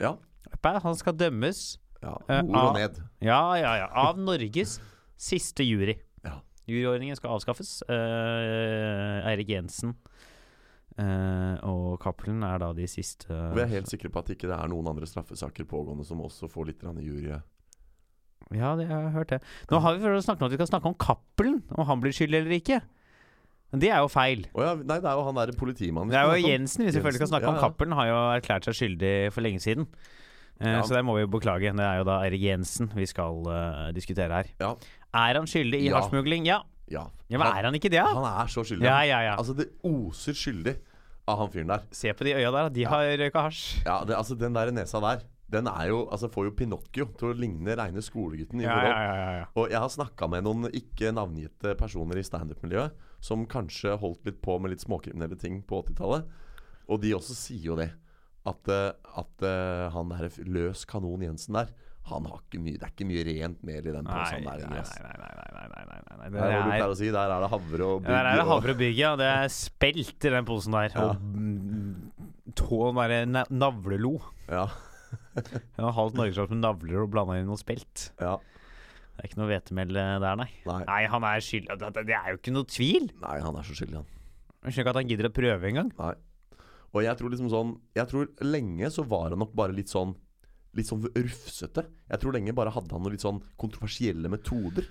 Ja.
Oppe. Han skal dømmes.
ja.
Eh,
Ord og
ah.
ned.
Ja, ja, ja. Av Norges siste jury.
Ja.
Juryordningen skal avskaffes. Eh, Eirik Jensen eh, og Cappelen er da de siste
Og vi er helt sikre på at ikke det ikke er noen andre straffesaker pågående som også får litt grann jury.
Ja, det, jeg har hørt det. Nå har vi prøvd å snakke om at vi skal snakke om Cappelen, om han blir skyldig eller ikke. Men det er jo feil.
Å ja, nei, det er jo han derre politimannen. vi
Det er
skal
jo
snakke om.
Jensen vi selvfølgelig skal
Jensen,
snakke om.
ja, ja.
Cappelen har jo erklært seg skyldig for lenge siden. Eh,
Ja.
Så det må vi beklage. Det er jo da Eirik Jensen vi skal eh, diskutere her.
Ja.
Er han skyldig i
Ja.
hasjsmugling? Ja.
Ja.
ja. Men er han ikke det, da?
Han er så skyldig.
Ja, ja, ja.
Altså, det oser skyldig av han fyren der.
Se på de øya der, de har røyka hasj.
Ja, det, altså, Den der nesa der, den er jo Altså, får jo Pinocchio til å ligne reine skolegutten i
Ja,
forhold.
ja, ja, ja, ja.
Og jeg har snakka med noen ikke navngitte personer i standup-miljøet som kanskje holdt litt på med litt småkriminelle ting på 80-tallet. Og de også sier jo det. At, eh, at eh, han der løs kanon Jensen der, han har ikke mye Det er ikke mye rent mel i den
Nei,
posen
nei, nei,
der. lenger,
nei,
ass.
nei, nei, nei, nei, nei, nei.
Det er hva du
Det er
pleier å si. Der er det havre og
Ja, Der er det
bygg. og-
havrebygget, og det er spelt i den posen der.
Ja.
Og mm, på den derre na- navlelo.
Ja,
Den har halvt norgesklasse med navler og blanda inn noe spelt.
ja.
Det er ikke noe hvetemel eh, der, nei.
Nei.
Nei, han er skyldig. Det- Det det er jo ikke noe tvil.
Nei, han er så skyldig, han.
Jeg skjønner ikke at han gidder å prøve engang.
Nei. Og jeg tror liksom sånn Jeg tror lenge så var han nok bare litt sånn Litt sånn rufsete. Jeg tror lenge bare hadde han noen litt sånn kontroversielle metoder.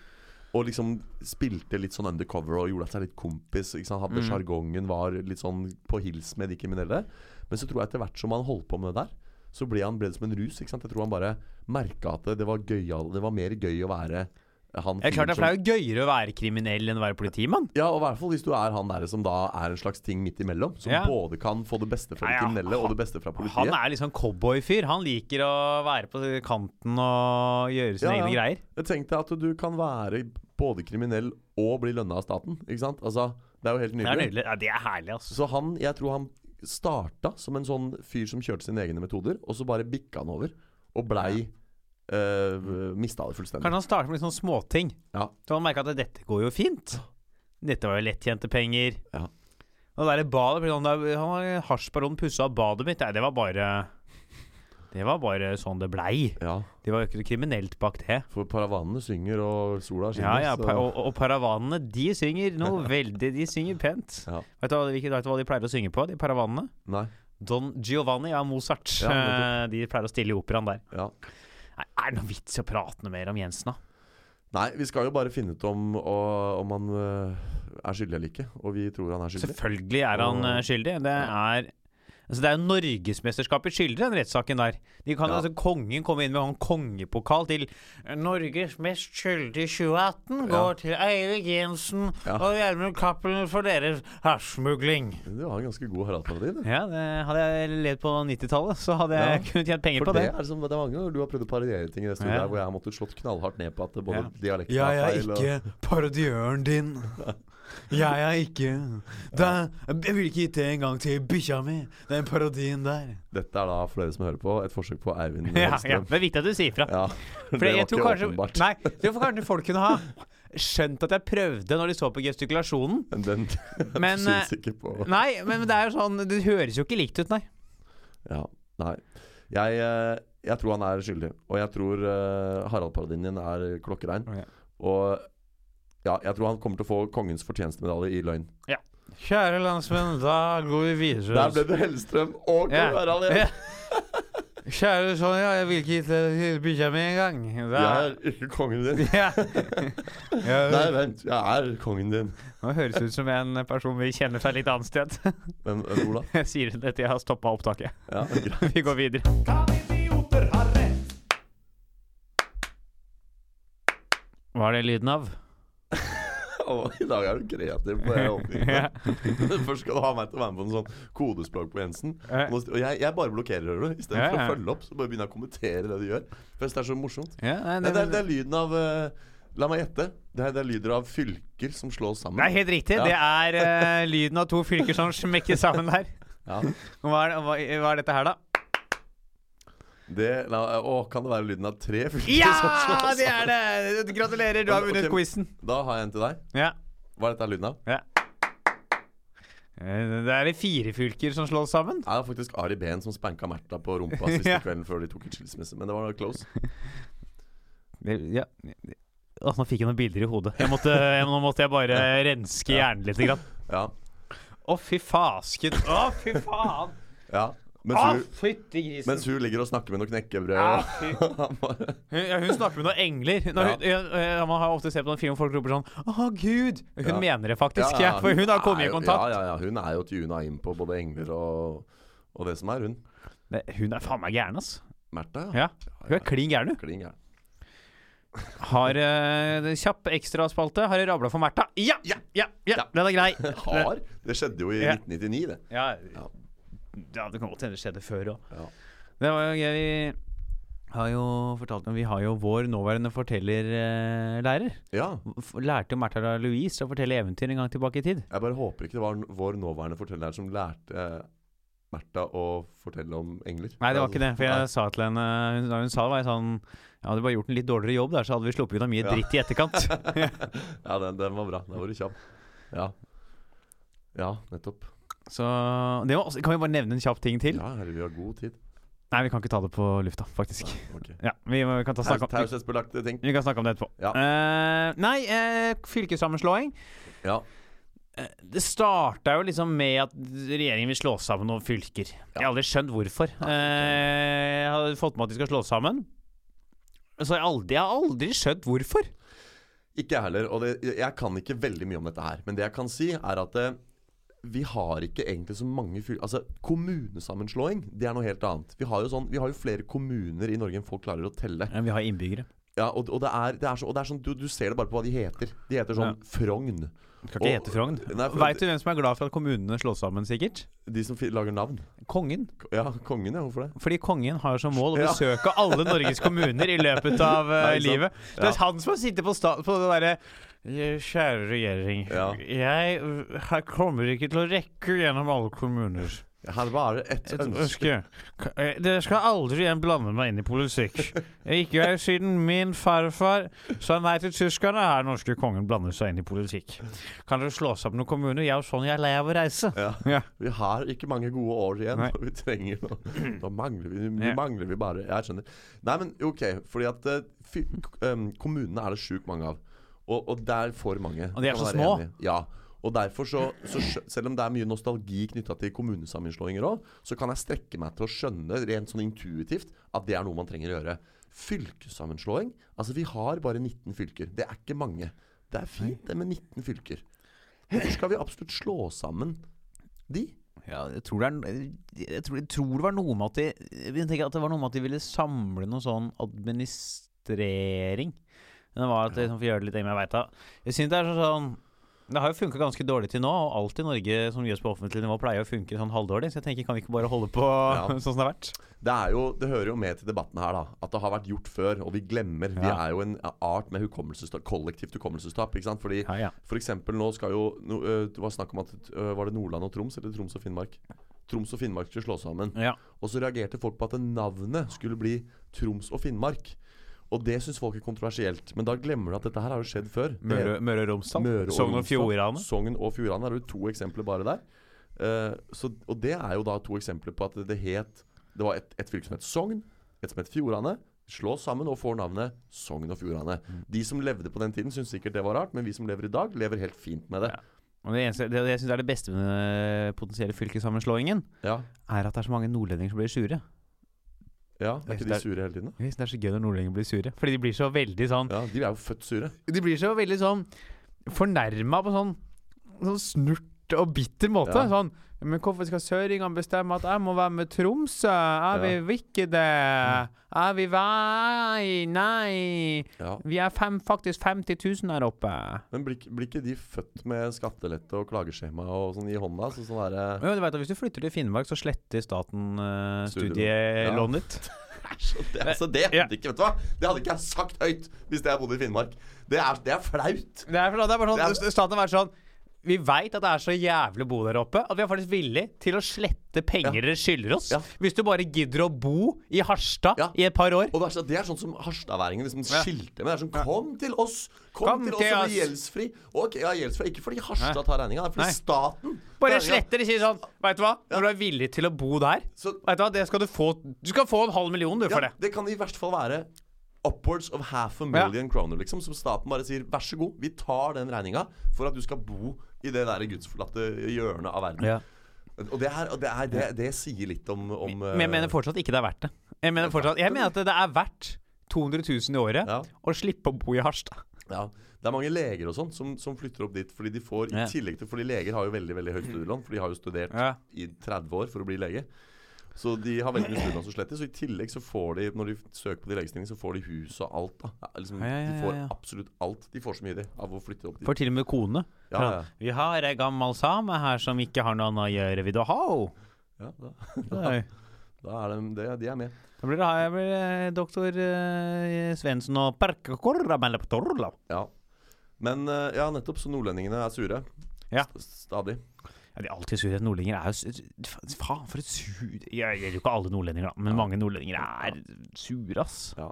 Og liksom spilte litt sånn undercover og gjorde seg litt kompis. Ikke sant? Hadde
Mm.
sjargongen, var litt sånn på hils med de kriminelle. Men så tror jeg etter hvert som han holdt på med det der, så ble, han, ble det som en rus. Ikke sant? Jeg tror han bare merka at det- det var, gøyal- det var mer gøy å være han
Det er klart det
fyren
er- for det er jo gøyere å være kriminell enn å være politimann.
ja, og i hvert fall hvis du er han der som da er en slags ting midt imellom. Som
Ja.
både kan få det beste fra
Nei,
de
ja,
kriminelle og det beste fra
Han
politiet.
er liksom cowboyfyr. Han liker å være på kanten og gjøre sine
Ja,
egne
ja.
greier.
Tenk deg at du kan være både kriminell og bli lønna av staten. Ikke sant? Altså, det er jo helt
Det er
nydelig.
nydelig. Ja, det er herlig, altså.
Så han, jeg tror han starta som en sånn fyr som kjørte sine egne metoder, og så bare bikka han over. Og blei øh, mista det fullstendig.
Kanskje han starter med litt sånne småting.
Ja.
Så han merker at dette går jo fint. Dette var jo lettjente penger.
Ja.
Og det der badet ble sånn der, Han var hasjbaron pussa opp badet mitt. Nei, det var bare Det var bare sånn det blei.
ja.
Det var jo ikke noe kriminelt bak det.
For paravanene synger, og sola
Ja,
skinner.
ja,
så-
pa og, og paravanene, de synger
[LAUGHS]
noe veldig De synger pent.
Ja.
Vet du hva, hvilket- vet du hva de pleier å synge på, de paravanene?
Nei.
Don Giovanni av Mozart.
Ja,
Eh, de pleier å stille i operaen der.
Ja.
Nei, er det noe vits i å prate noe mer om Jensen, da?
Nei, vi skal jo bare finne ut om, og, om han øh, er skyldig eller ikke. Og vi tror han er skyldig.
Selvfølgelig er han
Og-
eh, skyldig. Det er Altså det er jo Norgesmesterskapet skyldig, den rettssaken der. De kan,
Ja.
altså, kongen kommer inn med en kongepokal til eh, Norges mest skyldige 2018 går til Eirik Jensen
Ja.
og Gjermund Cappelen for deres hasjsmugling.
Du har en ganske god Harald Paradis. du.
Ja, det hadde jeg levd på 90-tallet, så hadde jeg
Ja.
kunnet tjent penger
For
på
det
det.
er liksom, det er mange ganger du har prøvd å parodiere ting i det studioet
Ja.
der hvor jeg har måttet slått knallhardt ned på at det både
Ja. altså.
dialekten er feil og
parodiøren din. Jeg er ikke da, Jeg ville ikke gitt det engang til bikkja mi, den parodien der.
Dette er da, for dere som hører på, et forsøk på Eivind
[LAUGHS] Ja, ja,
Hellstrøm.
det er viktig at du sier fra.
Ja,
[LAUGHS] For jeg tror kanskje, Nei, jeg tror kanskje folk kunne ha skjønt at jeg prøvde når de så på gestikulasjonen.
Men Den [LAUGHS]
Men, eh,
syns ikke på
Nei, men det er jo sånn Det høres jo ikke likt ut, nei.
Ja, nei. Jeg, eh, jeg tror han er skyldig. Og jeg tror eh, Harald Paradis din er klokkerein.
Ok.
Og ja, jeg tror han kommer til å få kongens fortjenestemedalje i løgn.
Kjære landsmenn, da går vi videre.
Der ble det Hellstrøm og
[LAUGHS]
Kong
Ja.
Harald igjen!
Kjære Sonja, jeg vil ikke gi til bikkja mi engang.
Jeg er ikke kongen din.
Ja.
[LAUGHS] Nei,
Ja.
vent. Jeg er kongen din.
Nå høres det ut som en person vi kjenner fra et litt annet sted.
Men eh, Ola?
[LAUGHS] Jeg sier det etter jeg har stoppa opptaket.
Ja, [LAUGHS] greit.
Vi går videre. Hva er det lyden av?
Å, I dag er du kreativ på det åpningen. [LAUGHS] Først skal du ha meg til å være med på en sånn kodespråk på Jensen. Og
Ja.
nå- og jeg, jeg bare blokkerer, hører du. Istedenfor
Ja, ja.
å følge opp, så bare begynner jeg å kommentere det du gjør. For jeg synes det er så morsomt.
Ja, nei,
Nei,
det,
det, er, det er lyden av eh, La meg gjette. Det er, det er lyder av fylker som slås sammen.
det er helt riktig. Det er eh, lyden av to fylker som smekker sammen her.
Ja.
Hva er, hva, hva er dette her, da?
Det, la, å, kan det være lyden av tre fylker
[LAUGHS] Ja,
som slås sammen?
det er det! Gratulerer, du har vunnet
Ok.
quizen.
Da har jeg en til deg.
Ja.
Hva er dette lyden av?
Eh, Det er de fire fylker som slås sammen.
Nei, Det er faktisk Ari Behn som spanka Märtha på rumpa siste
[LAUGHS] Ja.
kvelden før de tok en skilsmisse. Men det var close.
Ja. Åh, nå fikk jeg noen bilder i hodet. Jeg måtte, jeg, nå måtte jeg bare renske hjernen litt. Grann.
Ja.
Å, fy fasken. Å, fy faen.
ja.
Å,
Mens, hun,
fytti grisen.
mens hun ligger og snakker med noe knekkebrød.
Ja,
og- [LAUGHS]
fy-
Han bare-
hun, ja, hun snakker med noen engler. Når hun, ja. ja, man har ofte sett på noen film hvor folk roper sånn Å, gud! Hun
Ja.
mener det faktisk, ja, for hun har kommet i
er jo-
kontakt.
Ja, ja, ja, Hun er jo tuna inn på både engler og, og det som er, hun.
Det, hun er faen meg gæren, ass.
Märtha,
Ja. Hun er klin gæren, du.
Kling gæren.
Har uh, kjapp ekstraspalte. Har jeg rabla for Märtha? Ja, ja, ja, ja!
Ja.
Den er grei. [LAUGHS]
Har? Det skjedde jo i
Ja.
1999, det.
Ja,
Ja.
ja det kan godt hende det skjedde før òg.
Ja.
Det var jo gøy. Vi har jo fortalt om Vi har jo vår nåværende fortellerlærer.
ja.
Lærte jo Märtha Louise å fortelle eventyr en gang tilbake i tid.
Jeg bare håper ikke det var n- vår nåværende forteller som lærte eh, Märtha å fortelle om engler.
Nei, det var ikke det. For
Nei.
jeg sa til henne hun, Da hun sa det, var jeg sånn Jeg hadde bare gjort en litt dårligere jobb der, så hadde vi sluppet unna mye
Ja.
dritt i
[LAUGHS]
etterkant.
ja, den, den var bra. Da var du kjapp. Ja. ja, nettopp.
Så det var også, Kan vi bare nevne en kjapp ting til?
Ja, herre, vi har god tid.
Nei, vi kan ikke ta det på lufta, faktisk.
Ok.
Ja, vi, vi kan ta snakke om vi,
Taushetsbelagte ting.
vi kan snakke om det etterpå.
Ja.
Eh, nei, eh, fylkessammenslåing.
Ja.
Eh, Det starta jo liksom med at regjeringen vil slå sammen noen fylker. Jeg har aldri skjønt hvorfor. Eh, jeg har fått med at de skal slå sammen. Så jeg, har aldri, jeg har aldri skjønt hvorfor.
Ikke jeg heller. Og det, jeg kan ikke veldig mye om dette her. Men det jeg kan si, er at eh, vi har ikke egentlig så mange fyl... Altså, kommunesammenslåing, det er noe helt annet. Vi har jo, sånn, vi har jo flere kommuner i Norge enn folk klarer å telle.
Men vi har innbyggere.
Ja, og, og, det er, det er så, og det er sånn, du, du ser det bare på hva de heter. De heter sånn Frogn.
Kan ikke
Og-
hete Frogn.
Nei, for
Veit du hvem som er glad for at kommunene slås sammen, sikkert?
De som fi- lager navn.
Kongen.
K- Ja, kongen, ja. Hvorfor det?
Fordi kongen har som mål å
Ja.
besøke alle Norges kommuner i løpet av eh,
[LAUGHS] Nei, ikke sant?
livet. Det er han som har sittet på, sta på det derre «Eh, Kjære regjering.
Ja.
Jeg eh, her kommer ikke til å rekke gjennom alle kommuner.
Her var det ett
Et
ønske.
ønske. Ka- eh, Dere skal aldri igjen blande meg inn i
[LAUGHS]
politikk. Ikke jeg, siden min farfar sa nei til tyskerne, har den norske kongen blandet seg inn i politikk. Kan dere slå sammen noen kommuner? Jeg er jo sånn jeg er lei av å reise.
Ja.
Ja.
Vi har ikke mange gode år igjen.
Nei.
og [LAUGHS] Vi trenger
[CLEARS THROAT]
noe. Da mangler vi,
Ja.
vi mangler vi bare Jeg skjønner. Nei, men OK. Fordi at eh, fy, k- em, kommunene er det sjukt mange av. Og, og det er for mange.
Og de er
Kan
så
være
små.
enig. Ja. Og derfor så, så skjø- Selv om det er mye nostalgi knytta til kommunesammenslåinger òg, så kan jeg strekke meg til å skjønne rent sånn intuitivt at det er noe man trenger å gjøre. Fylkessammenslåing Altså, vi har bare 19 fylker. Det er ikke mange. Det er fint, det med 19 fylker. Hvorfor skal vi absolutt slå sammen de?
Ja, jeg tror, det er, jeg, tror, jeg tror det var noe med at de Jeg tenker at det var noe med at de ville samle noe sånn administrering. Men det var at de liksom, får gjøre det litt Jeg veit da. Jeg synes det er sånn, sånn Det har jo funka ganske dårlig til nå, og alt i Norge som gjøres på offentlig nivå, pleier å funke sånn halvdårlig, så jeg tenker kan vi ikke bare holde på
Ja.
[LAUGHS] sånn som det har vært?
Det, er jo, det hører jo med til debatten her, da. At det har vært gjort før, og vi glemmer. Vi
Ja.
er jo en art med hukommelsestap, kollektivt hukommelsestap. ikke sant? Fordi
Ja, ja.
for eksempel nå skal jo no, øh, Det var snakk om at øh, Var det Nordland og Troms, eller Troms og Finnmark? Troms og Finnmark skulle slås sammen.
ja.
Og så reagerte folk på at navnet skulle bli Troms og Finnmark. Og det syns folk er kontroversielt. Men da glemmer du at dette her har jo skjedd før. Det
Møre, Møre og Romsdal.
Møre og
Sogn og
Romsdal.
Fjordane.
Sogn og Fjordane er jo to eksempler bare der. Eh, så, og det er jo da to eksempler på at det het Det var et, et fylke som het Sogn, et som het Fjordane. Slås sammen og får navnet Sogn og Fjordane. De som levde på den tiden, syns sikkert det var rart, men vi som lever i dag, lever helt fint med det.
Og det eneste det, det jeg syns er det beste med den eh, potensielle fylkessammenslåingen,
Ja,
er at det er så mange nordlendinger som blir sure.
ja Er ikke de sure hele tiden? da?
Jeg synes Det er så gøy når nordlendinger blir sure. Fordi de blir så veldig sånn
Ja, De er jo født sure.
De blir så veldig sånn fornærma på sånn, sånn snurt og bitter måte.
Ja.
Sånn Men hvorfor skal søringene bestemme at jeg må være med Tromsø? Jeg
Ja.
vil ikke det. Jeg vil være Nei.
Ja.
Vi er fem, faktisk 50 000 her oppe.
Men blir, ikke- blir ikke de født med skattelette og klageskjema og sånn i hånda? Så sånn derre
Men du vet, at Hvis du flytter til Finnmark, så sletter staten eh,
Studielån.
studielånet [LAUGHS] ditt.
Æsj, det, altså, det
Ja.
hadde ikke vet du hva? Det hadde ikke jeg sagt høyt hvis jeg bodde i Finnmark. Det er, det er flaut.
Det er, for- det er bare sånn,
Det
Staten har vært sånn Vi veit at det er så jævlig å bo der oppe, at vi er faktisk villig til å slette penger dere skylder oss.
Ja.
Hvis du bare gidder å bo i Harstad
Ja.
i et par år.
Og det er, sånn- det er sånn som harstadværingene liksom skilte med. Det er sånn, Kom til oss! Kom,
Kom
til oss
til oss!»
og bli gjeldsfri! Ok, ja, gjeldsfri. Ikke fordi Harstad tar regninga, det er
Nei.
fordi staten
Bare
tar regningen.
sletter de sier sånn Veit du hva, når du er villig til å bo der,
Så-
vet du hva, det skal du få Du skal få en halv million, du, for
Ja,
det.
det kan i verste fall være upwards of half a million kroner, liksom. Som staten bare sier vær så god, vi tar den regninga for at du skal bo i det der gudsforlatte hjørnet av verden. Og, det, her, og det, er, det, det sier litt om, om
Men jeg mener fortsatt ikke det er verdt det. Jeg mener, fortsatt, jeg mener at det er verdt 200 000 i året
Ja.
å slippe å bo i Harstad.
Ja, Det er mange leger og sånn som, som flytter opp dit fordi de får
Ja.
i tillegg til Fordi leger har jo veldig veldig høyt studielån, for de har jo studert
Ja.
i 30 år for å bli lege. Så de har veldig mye studielån som sletter. Så i tillegg så får de, når de søker på de legestilling, så får de hus og alt. da ja, liksom,
Ja, ja, ja,
De får
ja.
absolutt alt. De får så mye de av å flytte opp dit.
For til og med kone.
Ja, ja.
Vi har ei gammal same her som ikke har noe annet å gjøre. Vil du ha henne?
Ja, da, da er de, det, de er med.
Da blir det jeg blir eh, doktor eh, Svendsen og Perkakorra melder på Torla.
Ja. Men eh, ja, nettopp. Så nordlendingene er sure.
Ja.
St- Stadig.
Ja, de er alltid sure. Nordlendinger er jo su- fa- Faen, for et sur Jeg gjelder jo ikke alle nordlendinger, da, men mange nordlendinger er sure, ass.
Ja.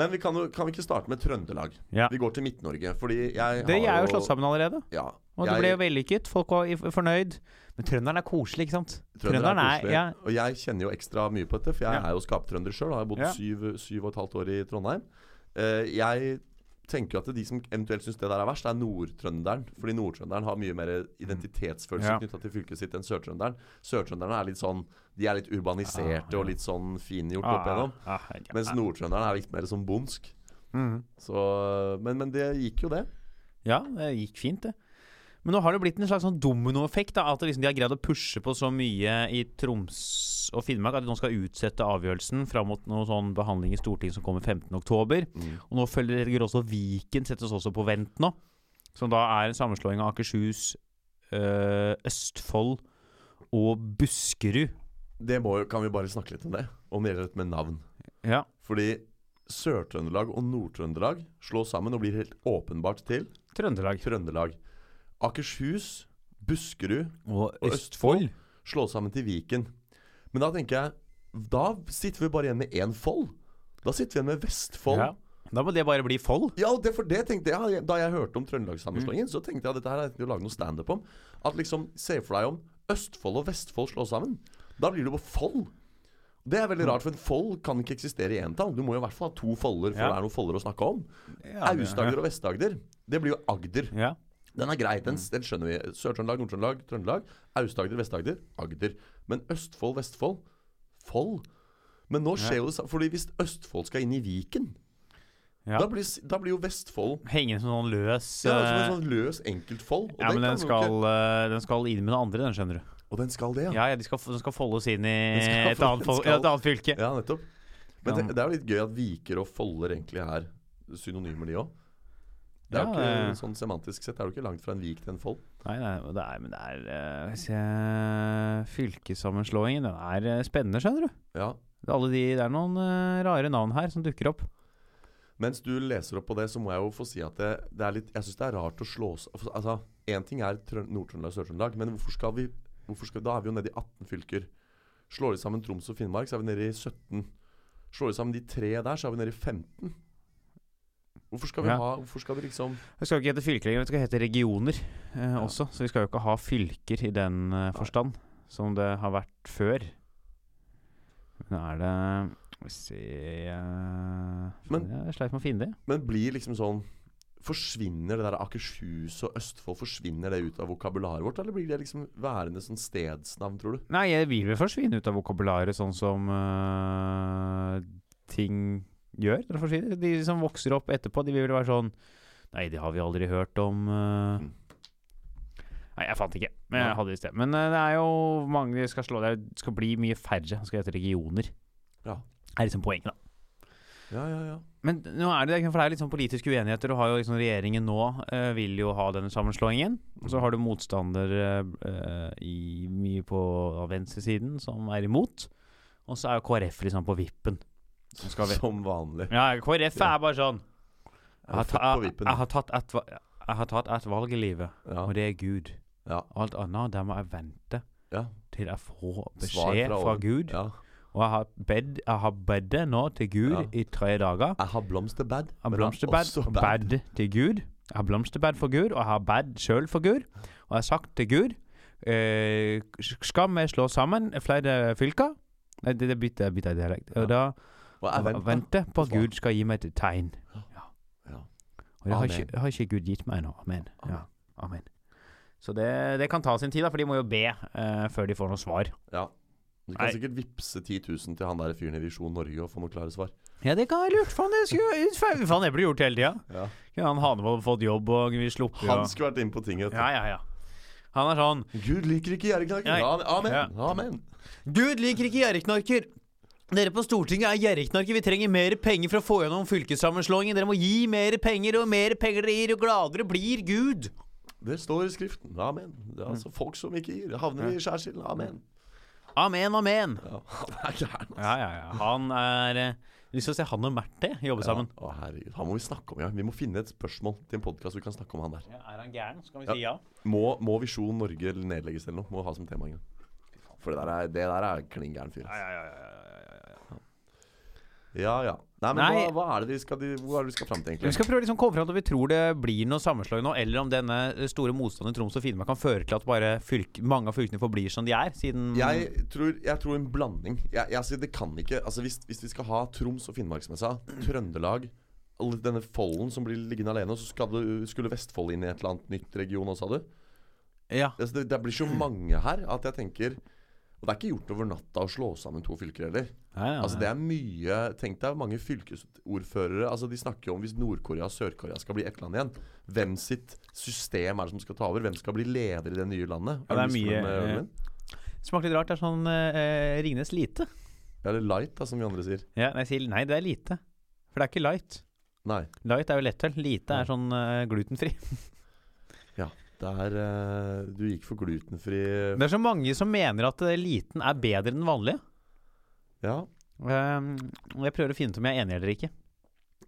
Men vi kan, jo, kan vi ikke starte med Trøndelag?
Ja.
Vi går til Midt-Norge. Fordi jeg
Det
har
er jo slått sammen allerede.
Ja,
Og det
Jeg-
ble jo vellykket. Folk var i- fornøyd. Men trønderen er koselig, ikke sant?
Trønderen er koselig.
ja.
Og jeg kjenner jo ekstra mye på dette, for jeg
Ja.
er jo skaptrønder sjøl. Har jo bodd
Ja.
syv, syv og et halvt år i Trondheim. Eh, jeg tenker jo at de som eventuelt syns det der er verst, er nordtrønderen. Fordi nordtrønderen har mye mer identitetsfølelse
Ja.
knytta til fylket sitt enn sørtrønderen. Sørtrønderne er litt sånn De er litt urbaniserte og litt sånn fingjort opp igjennom.
Ah, ah, ja.
Mens nordtrønderen er litt mer sånn bondsk.
Mhm.
Så, men, men det gikk jo, det.
Ja, det gikk fint, det. Men nå har det blitt en slags sånn dominoeffekt. da, At det liksom de har greid å pushe på så mye i Troms og Finnmark at de nå skal utsette avgjørelsen fram mot noen sånn behandling i Stortinget som kommer 15.10. Og nå følger ligger også Viken settes også på vent nå. Som da er en sammenslåing av Akershus, øh, Østfold og Buskerud.
Det må, jo- kan vi bare snakke litt om det. Om det gjelder dette med navn.
Ja.
Fordi Sør-Trøndelag og Nord-Trøndelag slås sammen og blir helt åpenbart til
Trøndelag.
Trøndelag. Akershus, Buskerud
Og
og
Østfold.
Østfold slås sammen til Viken. Men da tenker jeg Da sitter vi bare igjen med én fold. Da sitter vi igjen med Vestfold.
Ja.
Ja,
Da må det bare bli Fold.
og det, for det tenkte jeg Da jeg hørte om Trøndelagssammenslåingen, så tenkte jeg at dette her er det å lage noe standup om. At liksom, Se for deg om Østfold og Vestfold slås sammen. Da blir det jo Fold. Det er veldig rart, for en fold kan ikke eksistere i entall. Du må jo i hvert fall ha to folder for
Ja.
det er noen folder å snakke om. Aust-Agder og Vest-Agder, det blir jo Agder.
Ja.
Den er grei, den, den skjønner vi. Sør-Trøndelag, Nord-Trøndelag, Trøndelag. Aust-Agder, Vest-Agder, Agder. Men Østfold, Vestfold, Fold. Men nå skjer jo det samme. Fordi hvis Østfold skal inn i Viken,
Ja.
da, blir, s- da blir jo Vestfold
Hengende som sånn løs
ja, det er som en
øh,
sånn løs enkeltfold. Og,
Ja, men
den
den
kan jo
skal, øh, den skal inn med det andre, den, skjønner du.
ikke, og den skal det, ja.
Ja, ja, de skal, f- den skal foldes inn i
[LAUGHS] Den skal-
et annet, fol-
den skal-
et annet fylke.
Ja, nettopp. Men
Ja.
det, det er jo litt gøy at viker og folder egentlig er synonymer, de òg. Det er
Ja,
jo ikke
det-
sånn Semantisk sett er det jo ikke langt fra en vik til en fold.
Nei, nei, men det er, men det er øh, skal vi se, eh, Fylkessammenslåingen, den er øh, spennende, skjønner du.
Ja,
Det er, alle de, det er noen øh, rare navn her som dukker opp.
Mens du leser opp på det, så må jeg jo få si at det, det er litt Jeg syns det er rart å slå s- Altså, én ting er Trøn- Nord-Trøndelag og Sør-Trøndelag, men hvorfor skal vi hvorfor skal, Da er vi jo nede i 18 fylker. Slår de sammen Troms og Finnmark, så er vi nede i 17. Slår de sammen de tre der, så er vi nede i 15. Hvorfor skal vi
Ja.
ha Hvorfor skal vi liksom
Det skal ikke hete fylker lenger, det skal hete regioner eh, også. Så vi skal jo ikke ha fylker i den eh, forstand som det har vært før. Men er det Skal vi se eh,
Men-
faen, Jeg sleit med å finne det.
Men blir liksom sånn Forsvinner det der Akershus og Østfold Forsvinner det ut av vokabularet vårt, eller blir det liksom værende sånn stedsnavn, tror du?
Nei, jeg vil vel forsvinne ut av vokabularet, sånn som eh, ting gjør. eller for å si det. De som vokser opp etterpå, de vil vel være sånn Nei, det har vi aldri hørt om. eh».
Mm.
Nei, jeg fant ikke, men
Nei.
jeg hadde det i sted. Men eh, det er jo mange det skal slå Det er- det skal bli mye færre. Det skal hete regioner.
Ja.
Er liksom poenget, da.
Ja, ja, ja.
Men nå er det, for det er litt sånn politiske uenigheter. Du har jo liksom Regjeringen nå eh, vil jo ha denne sammenslåingen. Og så har du motstandere eh, i, mye på av venstresiden som er imot. Og så er jo KrF liksom på vippen. Så skal vi-
Som vanlig.
Ja, KrF er bare sånn Jeg har,
født
ta,
på
jeg,
vippen.
jeg har tatt ett va- jeg har tatt ett valg i livet,
Ja.
og det er Gud.
Ja.
Alt annet der må jeg vente
Ja.
til jeg får
Svar
beskjed
fra
fra,
oven.
Gud.
ja.
Og jeg har bedt jeg har bedt det nå til Gud
Ja.
i tre dager.
Jeg har blomsterbad.
Jeg har
men jeg har
blomsterbed
også
og
bad.
bad til Gud. Jeg har blomsterbed for Gud, og jeg har bad sjøl for Gud. Og jeg har sagt til Gud eh, Skal vi slå sammen flere fylker? Nei, det, det bytter jeg bytter jeg dialekt. Og da
Og
venter
jeg venter.
jeg venter på at
Svar.
Gud skal gi meg et tegn. Ja.
Ja.
Og det har
Amen.
ikke, har ikke Gud gitt meg ennå. Amen.
Amen.
Ja. Amen. Så det, det kan ta sin tid, da, for de må jo be eh, før de får noe svar.
Ja. Du kan
Nei.
sikkert vippse 10 000 til han der fyren i Visjon Norge og få noen klare svar.
Ja, det kan jeg lurt. Faen, det, skulle- [LAUGHS] faen, det blir gjort hele tida.
Ja.
Han Hanevold har fått jobb, og vi slipper
Han skulle vært inne på tinget.
Ja, ja, ja. Han er sånn
Gud liker ikke gjerrigknaker.
Nei.
Amen. Amen.
Ja.
Amen.
Gud liker ikke gjerrigknarker. Dere på Stortinget er gjerrigknarker. Vi trenger mer penger for å få gjennom fylkessammenslåingen. Dere må gi mer penger, og jo mer penger dere gir, jo gladere blir Gud.
Det står i Skriften. Amen. Det er
Mm.
altså folk som ikke gir, havner i skjærsilden. Amen.
Amen, amen.
Ja, [LAUGHS] han er gæren. altså.
Ja, ja, ja. Han er eh, Lyst til å se han og Merte jobbe sammen.
Å, herregud. Han må vi snakke om, ja. Vi må finne et spørsmål til en podkast vi kan snakke om han der.
Ja, er han gæren, så kan vi
Ja.
si ja.
Må, må Visjon Norge nedlegges eller noe? Må ha som tema en gang. For det der er, det der er klin gæren fyr.
Ja, ja, ja, ja, ja, ja, ja.
Ja, ja. Nei, men
Nei.
Hva, hva er det vi skal, hvor er det vi skal fram til,
Vi
egentlig?
skal prøve å liksom komme fram til om vi tror det blir noe sammenslåing nå, eller om denne eh, store motstanden i Troms og Finnmark kan føre til at bare fylk, mange av fylkene forblir som de er, siden
Jeg tror, jeg tror en blanding. Jeg, jeg sier Det kan ikke altså hvis, hvis vi skal ha Troms og Finnmark, som jeg sa, Trøndelag all Denne Folden som blir liggende alene, og så skal du, skulle Vestfold inn i et eller annet nytt region også, sa du?
Ja.
Altså, det, det blir så mange her at jeg tenker Og det er ikke gjort over natta å slå sammen to fylker heller.
Ja, ja,
Altså Det er mye Tenk deg mange fylkesordførere Altså De snakker jo om hvis Nord-Korea og Sør-Korea skal bli ett land igjen. Hvem sitt system er det som skal ta over? Hvem skal bli leder i det nye landet?
Ja, det er
du lyst på
mye,
den, eh,
eh,
ølen?
Smaker litt rart. Det er sånn eh, Ringnes lite.
Ja, det er light, da, som vi andre sier.
Ja, nei, jeg sier nei, det er lite. For det er ikke light.
Nei.
Light er jo lettøl. Lite er sånn eh, glutenfri.
Det er eh, Du gikk for glutenfri
Det er så mange som mener at eh, liten er bedre enn den vanlige.
Ja.
Um, og jeg prøver å finne ut om jeg er enig eller ikke.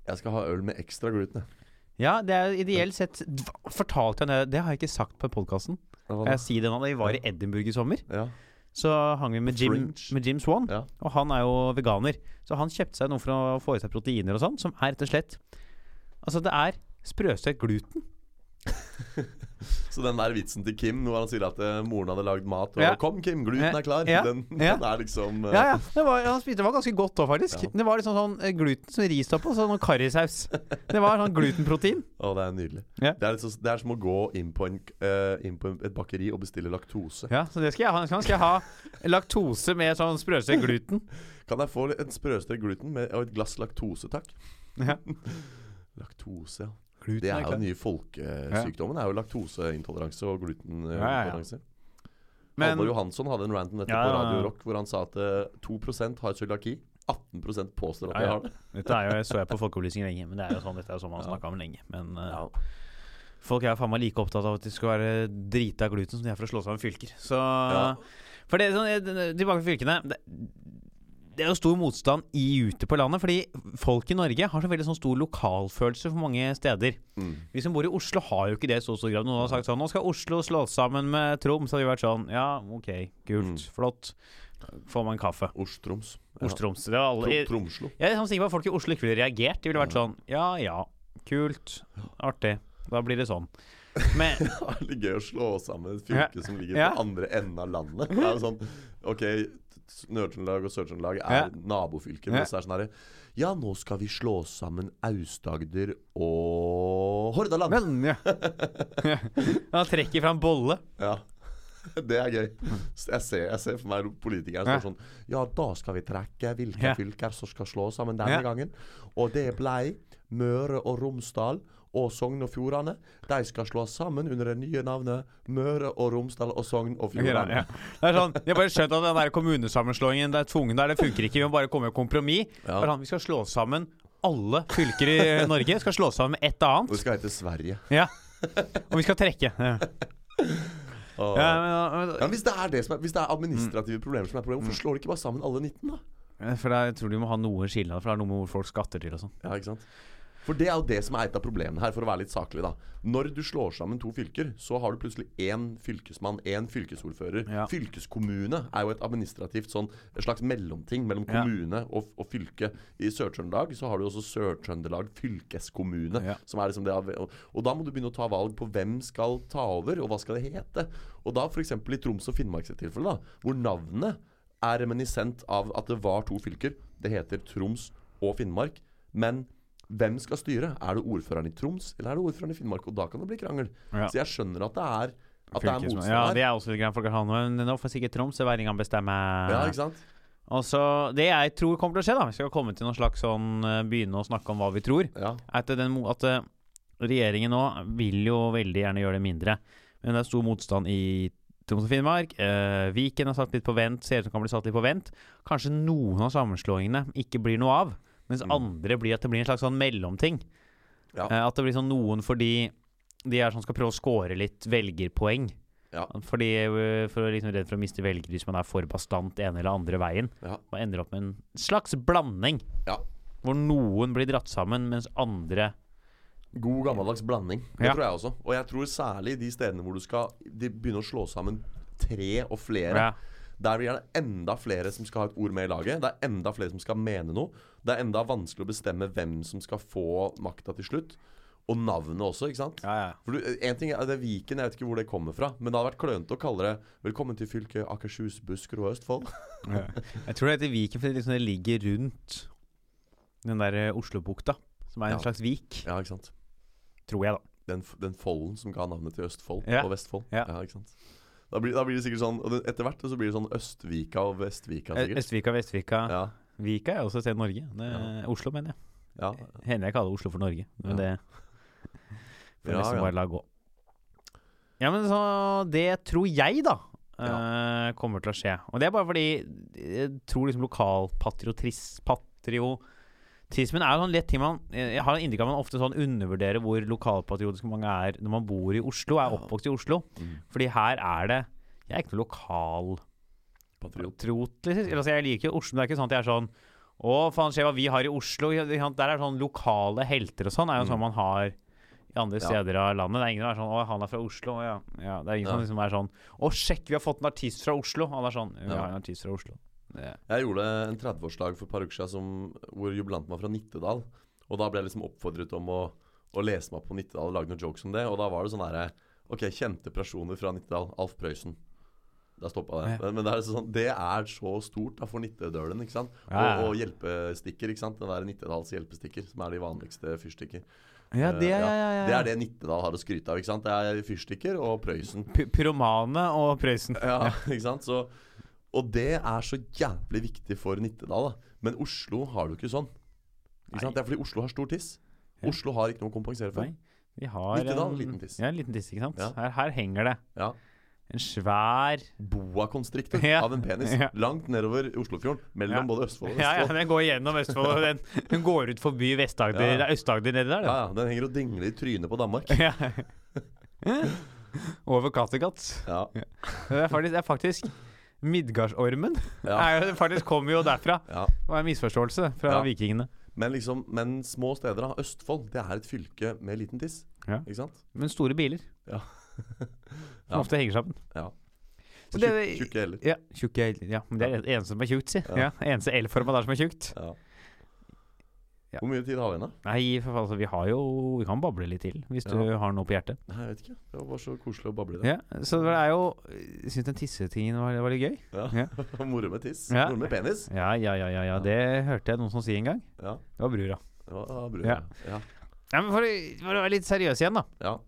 Jeg skal ha øl med ekstra gluten, jeg.
Ja, det er jo ideelt sett Dv- Fortalte jeg det? Det har jeg ikke sagt på podkasten.
Hva da?
Jeg sier det nå. Da vi var i Edinburgh i sommer,
Ja.
så hang vi med Jim,
Fringe.
med Jim Swan.
Ja.
Og han er jo veganer. Så han kjøpte seg noe for å få i seg proteiner og sånn, som er rett og slett Altså, det er sprøstekt gluten.
Så den der vitsen til Kim når han sier at eh, moren hadde lagd mat og
Ja. Eh,
'Kom, Kim, gluten er klar',
Ja.
Den,
Ja.
den er liksom eh,
Ja, ja. Det var, han spiste det var ganske godt òg, faktisk.
Ja.
Det var liksom sånn eh, gluten som ris oppå, og så noe karrisaus. Det var sånn glutenprotein.
Å, det er nydelig.
Ja.
Det, er litt så, det er som å gå inn på, en, eh, inn på en, et bakeri og bestille laktose.
Ja, så det skal jeg ha. Skal jeg ha laktose med sånn sprøstekt gluten?
Kan jeg få litt- en sprøstekt gluten med, og et glass laktose, takk?
Ja.
Laktose, ja.
Gluten
Det er jo
klart.
den nye folkesykdommen. Det er jo laktoseintoleranse og glutenintoleranse.
Men
Halvor Johansson hadde en rant om dette
Ja,
på
ja, ja.
Radio Rock hvor han sa at eh, 2 har cøliaki. 18 påstår at
Ja,
de
ja.
har det.
dette er jo, jeg så jeg på Folkeopplysning lenge, men det er jo sånn, dette er jo sånn man har snakka om lenge. Men eh,
Ja.
folk er jo faen meg like opptatt av at de skal være drita av gluten som de er for å slå sammen fylker. Så
Ja.
For det er sånn, eh, tilbake til fylkene. Det, det er jo stor motstand i ute på landet, fordi folk i Norge har så veldig sånn stor lokalfølelse for mange steder.
Mm.
Vi som bor i Oslo har jo ikke det i så stor grad. Noen har sagt sånn Nå skal Oslo slås sammen med Troms. Så har vi vært sånn Ja, OK, kult,
Mm.
flott. Får man kaffe.
Ostroms. Ja.
Ostroms. Det var alle
Tro,
i,
Tromslo.
Jeg er sånn sikker på at folk i Oslo ikke ville reagert. De ville vært sånn Ja ja, kult, artig. Da blir det sånn. [LAUGHS] Men
Det er litt gøy å slå sammen et fylke som ligger
Ja.
på andre enden av landet. Det er jo sånn, ok, Nord-Trøndelag og Sør-Trøndelag er
Ja.
nabofylker.
Ja.
Men så er det sånn herre Ja, nå skal vi slå sammen Aust-Agder og Hordaland!
Men ja. [LAUGHS] Han trekker fra en bolle.
Ja. [LAUGHS] Det er gøy. Så Jeg ser, jeg ser for meg politikere som er sånn Ja, da skal vi trekke hvilke
Ja.
fylker som skal slå sammen denne
Ja.
gangen. Og det blei Møre og Romsdal og Sogn og Fjordane. De skal slås sammen under det nye navnet Møre og Romsdal og Sogn og
Ok, da,
Fjordane.
ja. Det er sånn, De har bare skjønt at den der kommunesammenslåingen det er tvungen der, det funker ikke. Vi må bare komme med kompromiss.
Ja.
Det er sånn, Vi skal slå sammen alle fylker i Norge. Skal slå sammen med ett
Og det
annet.
skal hete Sverige.
Ja. Og vi skal trekke. Ja.
Og-
Ja, Mm.
ja.
men,
men hvis det er det som er, hvis det er administrative problemer som er problemet, hvorfor slår de ikke bare sammen alle 19, da?
men, for jeg tror de må ha noe skilnad, for det er noe med hvor folk skatter til og sånn.
Ja, ikke sant? For det er jo det som er et av problemene her, for å være litt saklig, da. Når du slår sammen to fylker, så har du plutselig én fylkesmann, én fylkesordfører.
Ja.
Fylkeskommune er jo et administrativt sånn et slags mellomting mellom
Ja.
kommune og, og fylke. I Sør-Trøndelag så har du også Sør-Trøndelag fylkeskommune,
Ja.
som er liksom det av- og, og da må du begynne å ta valg på hvem skal ta over, og hva skal det hete. Og da f.eks. i Troms og Finnmark sitt tilfelle, da, hvor navnet er reminiscent av at det var to fylker. Det heter Troms og Finnmark. Men hvem skal styre? Er det ordføreren i Troms, eller er det ordføreren i Finnmark? Og da kan det bli krangel.
Ja.
Så jeg skjønner at det er at det er
Fylkesmann.
motstand
Ja,
her.
det er også litt greit. Folk har noe, men nå får sikkert Troms væringene bestemme.
Ja, ikke sant?
Og så Det jeg tror kommer til å skje, da, vi skal komme til noen slags sånn eh, Begynne å snakke om hva vi tror,
Ja.
er at, den, mo- at eh, regjeringen nå vil jo veldig gjerne gjøre det mindre. Men det er stor motstand i Troms og Finnmark. Eh, Viken er satt litt på vent, ser ut som kan bli satt litt på vent. Kanskje noen av sammenslåingene ikke blir noe av. Mens
Mm.
andre blir at det blir en slags sånn mellomting.
Ja.
Eh, at det blir sånn noen fordi de er sånn skal prøve å score litt velgerpoeng.
Ja.
Fordi eh, for å liksom redd for å miste velgere hvis man er for bastant ene eller andre veien.
Ja.
Man ender opp med en slags blanding.
Ja.
Hvor noen blir dratt sammen, mens andre
God gammeldags blanding. Det
Ja.
tror jeg også. Og jeg tror særlig de stedene hvor du skal de begynne å slå sammen tre og flere.
ja.
Der blir det enda flere som skal ha et ord med i laget. Det er enda flere som skal mene noe. Det er enda vanskelig å bestemme hvem som skal få makta til slutt. Og navnet også, ikke sant?
Ja, ja.
For du, en ting er, det er Viken, jeg vet ikke hvor det kommer fra. Men det hadde vært klønete å kalle det 'Velkommen til fylket Akershus, Buskerud og Østfold'.
Jeg tror det heter Viken fordi det, liksom det ligger rundt den der eh, Oslobukta, som er en
Ja.
slags vik,
Ja, ikke sant?
tror jeg, da.
Den, f- den folden som ga navnet til Østfold
Ja.
og Vestfold.
Ja.
ikke sant? Da blir, da blir det sikkert sånn og det- Etter hvert så blir det sånn Østvika og Vestvika,
Ø-
sikkert.
Østvika, Vestvika.
Ja,
Vika er også et sted i Norge. Det,
Ja.
Oslo, mener jeg.
ja.
Hender jeg kaller Oslo for Norge, men
Ja.
det får jeg
Ja,
liksom
ja.
bare la gå. Ja, men så Det tror jeg, da, eh, kommer til å skje. Og det er bare fordi jeg tror liksom lokalpatriotismen er jo sånn lett ting man Jeg har inntrykk av at man ofte sånn undervurderer hvor lokalpatriotisk mange er når man bor i Oslo, er
Ja.
oppvokst i Oslo.
Mm.
Fordi her er det Jeg er ikke noe lokal
Patriot.
trot, liksom. Altså, jeg liker jo Oslo, men det er ikke sånn at jeg er sånn Å, faen, se hva vi har i Oslo. ikke sant? Der er sånn lokale helter og sånn. er jo
Mm.
sånn man har i andre
Ja.
steder av landet. Det er ingen som er sånn Å, han er fra Oslo. Å, ja. ja. Det er ingen som
Ja.
liksom er sånn Å, sjekk, vi har fått en artist fra Oslo. Alle er sånn Vi
Ja.
har en artist fra Oslo. Det.
Jeg gjorde en 30-årsdag for et par uker siden som- hvor jubilanten var fra Nittedal. Og da ble jeg liksom oppfordret om å, å lese meg opp på Nittedal og lage noen jokes om det. Og da var det sånn herre Ok, kjente personer fra Nittedal. Alf Prøysen. Da stoppa det. Men, men det, er altså sånn, det er så stort da, for nittedølen, ikke sant.
Ja, ja.
Og, og hjelpestikker, ikke sant. Den der Nittedals hjelpestikker, som er de vanligste fyrstikker.
Ja,
Eh,
det, ja, ja, ja.
Det er det Nittedal har å skryte av, ikke sant. Det er fyrstikker og Prøysen.
Py- Pyromane og Prøysen.
Ja, [LAUGHS] ikke sant? Så, og det er så jævlig viktig for Nittedal. Da. Men Oslo har det jo ikke sånn. Ikke sant? Det er fordi Oslo har stor tiss.
Ja.
Oslo har ikke noe å kompensere for.
Nei. Vi har
Nittedal,
en-
liten tiss.
Ja, en liten tiss, ikke sant.
Ja.
Her, her henger det
Ja.
en svær
Boa constrictor
[LAUGHS] Ja.
av en penis
Ja.
langt nedover Oslofjorden. Mellom
Ja.
både Østfold og
Ja, ja,
Vestfold.
den går gjennom Østfold. og Den, den går ut forbi Vest-Agder.
Ja, ja.
Det er Øst-Agder nedi der, det.
Ja, ja, Den henger og dingler i trynet på Danmark.
Ja. [LAUGHS] Over Kattegat.
Ja,
Det er faktisk, det er faktisk Midgardsormen
ja,
er jo- det faktisk kommer jo derfra.
ja.
Det var en misforståelse fra
Ja.
vikingene.
Men, liksom, men små steder, da. Østfold det er et fylke med liten tiss.
Ja.
Ikke sant?
Men store biler
Ja.
[LAUGHS] som
Ja.
ofte henger sammen.
Ja.
Så
Og
det-
tjukk, tjukke heller.
Ja, tjukke Ja, men det er det eneste som er tjukt, si.
Ja.
Ja. eneste L-forma der som er tjukt.
Ja.
Ja.
Hvor mye tid har vi igjen, da?
Nei, for faen, altså, vi har jo Vi kan bable litt til hvis du
Ja.
har noe på hjertet.
Nei, jeg vet ikke. Det var bare så koselig å bable i det.
Ja, så det er jo Jeg syns den tissetingen var, var litt gøy.
[LAUGHS] Moro med tiss.
Ja.
Moro med penis.
Ja, ja, ja, ja, ja. Det hørte jeg noen som si en gang.
Ja.
Det var brura.
Det var- det var brød.
Ja.
Ja. Ja.
Nei, men for, å- for å være litt seriøs igjen, da.
ja.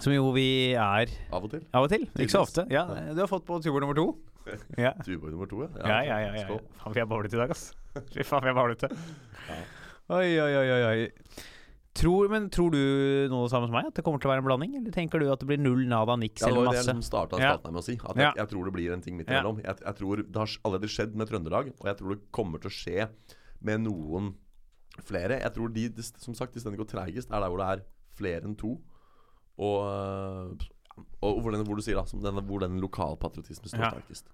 Som jo vi er
Av og til.
av og til. Ikke så
Tydeligvis.
ofte. Ja, du har fått på tuber nummer to. Ja,
Tuborg nummer to, [LAUGHS] ja.
ja, ja. ja, ja,
Skål.
Faen, vi er bavlete i dag,
[LAUGHS]
ass. Fy faen, vi er bavlete.
Ja.
Oi, oi, oi, oi. oi. Tror, men tror du noe det samme som meg, at det kommer til å være en blanding? Eller tenker du at det blir null nada niks
Ja, det
eller
var jo det
masse?
jeg liksom starta
Ja.
spalten her med å si. At
Ja.
jeg, jeg tror det blir en ting midt
Ja.
imellom. Jeg, jeg tror Det har allerede skjedd med Trøndelag, og jeg tror det kommer til å skje med noen flere. Jeg tror de, de- som sagt, de stedene går treigest, er der hvor det er flere enn to. Og, øh, og hvor, den, hvor du sier da, som den, hvor den lokalpatriotismen står
Ja.
sterkest.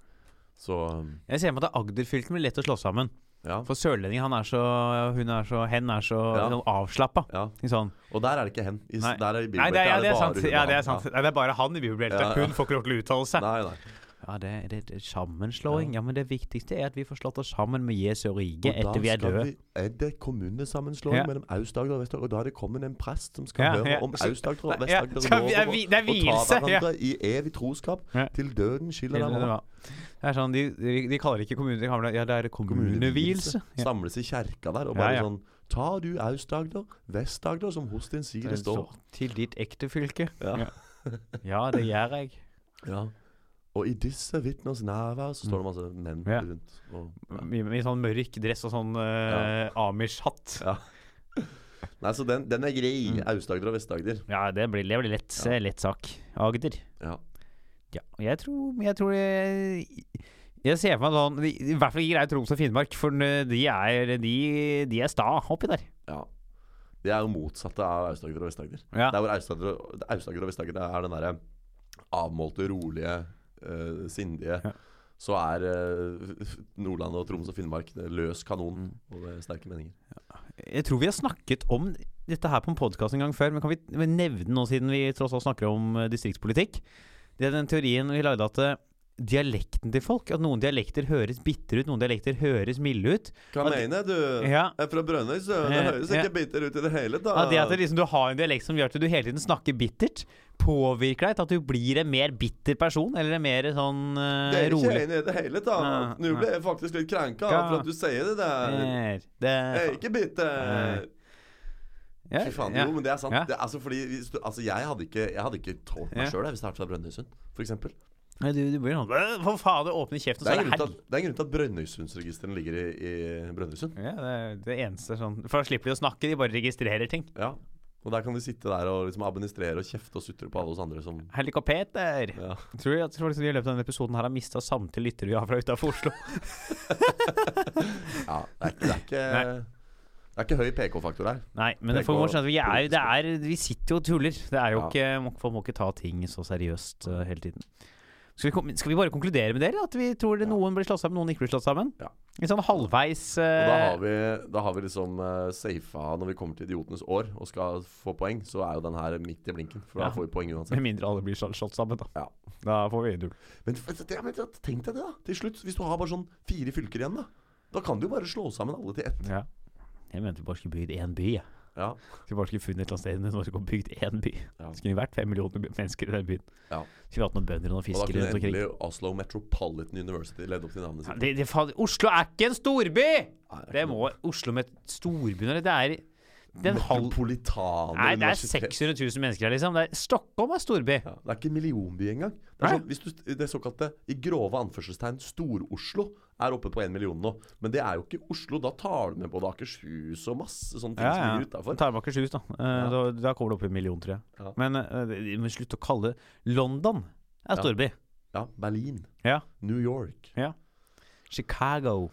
Så um,
Jeg ser for meg at Agder-fylken blir lett å slå sammen.
ja.
For sørlendingen, han er så Hun er så Hen er så
Ja.
sånn avslappa.
ja.
Sånn.
Og der er det ikke hen. I, s-
Nei.
Der er, i
Nei, det er, ja, det er sant.
hun og
Ja, det
han.
er sant. Nei, det er bare han i bibelbeltet.
Ja, ja.
Hun får ikke lov til å uttale seg.
Nei, nei.
Ja, det, det, det Sammenslåing. Ja. men det viktigste er at vi får slått oss sammen med Jesu rike
Og da
etter vi er
skal
døde.
vi- Er det kommunesammenslåing
Ja.
mellom Aust-Agder og Vest-Agder? Og da er det kommet en prest som skal
Ja,
høre
ja.
om
Så-
Aust-Agder og
Nei, ja,
Vest-Agder
skal vi- det er
og,
vi- det er
og
vielse,
ta hverandre i evig troskap
Ja.
til døden skiller dem ad.
Det er sånn, de, de, de kaller ikke kommuner de kaller det, Ja, det er kommunevielse. Ja.
Samles i kjerka der og
Ja,
bare
ja.
sånn Tar du Aust-Agder, Vest-Agder, som hos din side
Det
står.
står Til ditt ekte fylke.
Ja.
Ja. Ja, det gjør jeg.
Ja. Og i disse vitners nærvær så står det masse menn
Mm. Ja.
rundt. Og, ja.
I, i sånn mørk dress og sånn eh, Amish-hatt.
Nei, så den, den er grei.
Mm.
Aust-Agder og Vest-Agder.
Ja, det blir, det blir lett,
Ja.
lett sak. Agder.
Ja.
Ja, og jeg tror Jeg, tror jeg, jeg ser for meg sånn de- I hvert fall ikke greit Troms og Finnmark, for de er, de, de er sta oppi der.
ja. Det er jo motsatte av Aust-Agder og Vest-Agder.
Ja.
Der hvor Aust-Agder og- Aust-Agder og Vest-Agder er den derre avmålte, rolige, eh, sindige
Ja.
Så er eh, Nordland og Troms og Finnmark det er løs kanon,
Mm.
og det er sterke meninger.
Jeg tror vi har snakket om dette her på en podkast en gang før, men kan vi nevne nå, siden vi tross alt snakker om eh, distriktspolitikk? Det er den teorien vi lagde at eh, dialekten til folk. At noen dialekter høres bitre ut, noen dialekter høres milde ut.
Hva
At-
mener du?
Ja.
Jeg er fra Brønnøy, så det
Ja,
høres
ja.
ikke bitter ut i det hele tatt.
At det at det liksom, du har en dialekt som gjør at du hele tiden snakker bittert, påvirker deg til at du blir en mer bitter person, eller en mer sånn eh,
Det er ikke
rolig
enig i det hele tatt.
Nei,
Nå ble jeg faktisk litt krenka
Hva?
for at du sier det der.
Mer. Det,
Jeg er ikke bitter.
ja,
Fy faen,
ja.
jo, men det er sant.
Ja.
Det, altså, fordi hvis du, altså, jeg hadde ikke, jeg hadde ikke tålt meg
Ja.
sjøl hvis jeg hadde vært fra Brønnøysund, f.eks.
Nei, Du, du blir sånn «Øh, For faen, du åpner kjeften,
Det
så er
er en
det
grunn til
helg.
at, det er en grunn til at Brønnøysundsregistrene ligger i, i Brønnøysund.
Ja, det er det eneste sånn For da slipper de å snakke, de bare registrerer ting.
Ja. Og der kan de sitte der og liksom administrere og kjefte og sutre på alle oss andre som
Helikopeter!
ja.
Tror jeg, tror liksom vi i løpet av denne episoden her har mista samtlige lyttere vi har fra utafor
[LAUGHS]
Oslo.
ja det, er ikke, det, er ikke, det er ikke høy PK-faktor her.
Nei, men
Det
folk må
går
skjønne at vi, er, det er, vi sitter jo og tuller. Det er jo
Ja.
ikke, må, folk må ikke ta ting så seriøst eh, hele tiden. Skal vi, kom- skal vi bare konkludere med dere? At vi tror det
Ja.
noen blir slått sammen, noen ikke blir slått sammen?
Ja.
En sånn halvveis
Og da har
eh,
vi, da har vi liksom uh, safa når vi kommer til idiotenes år og skal få poeng, så er jo den her midt i blinken. For da
Ja.
får vi poeng uansett.
[LAUGHS] Med mindre alle blir slått slått sammen, da.
Ja.
Da får vi null.
Men, f- det- men tenk deg det, da. Til slutt, hvis du har bare sånn fire fylker igjen, da. Da kan du jo bare slå sammen alle til ett.
Ja. Jeg mente vi bare skulle bygd én by. jeg.
Ja.
Vi bare skulle funnet et eller annet sted i Norge og bygd én by.
Ja.
Det skulle vært fem millioner by- mennesker i den byen.
Ja.
Skulle vi hatt noen bønder og noen
Og da
fiskere
kunne
rundt omkring.
endelig Oslo Metropolitan University levd opp til navnet
Ja,
sitt.
Det, det, faen, Oslo er ikke en storby!
Nei, det er
Det
ikke
må Oslo med storbyen eller? Det er den halv...
Metropolitane
Nei, det er
universitet.
600 000 mennesker her, liksom. Det er, Stockholm er storby.
Ja, det er ikke en millionby engang. Det, er
Nei.
sånn, hvis du, det såkalte i grove anførselstegn Stor-Oslo er oppe på en million nå. Men det er jo ikke Oslo. Da tar du med både Akershus og masse sånne ting som ligger utafor.
Tar med Akershus, da. Eh, da. Da kommer det opp i en million, tror jeg.
Ja.
Men eh, det- men slutt å kalle det London
Ja.
er storby.
Ja, Berlin.
Ja.
New York.
Chicago.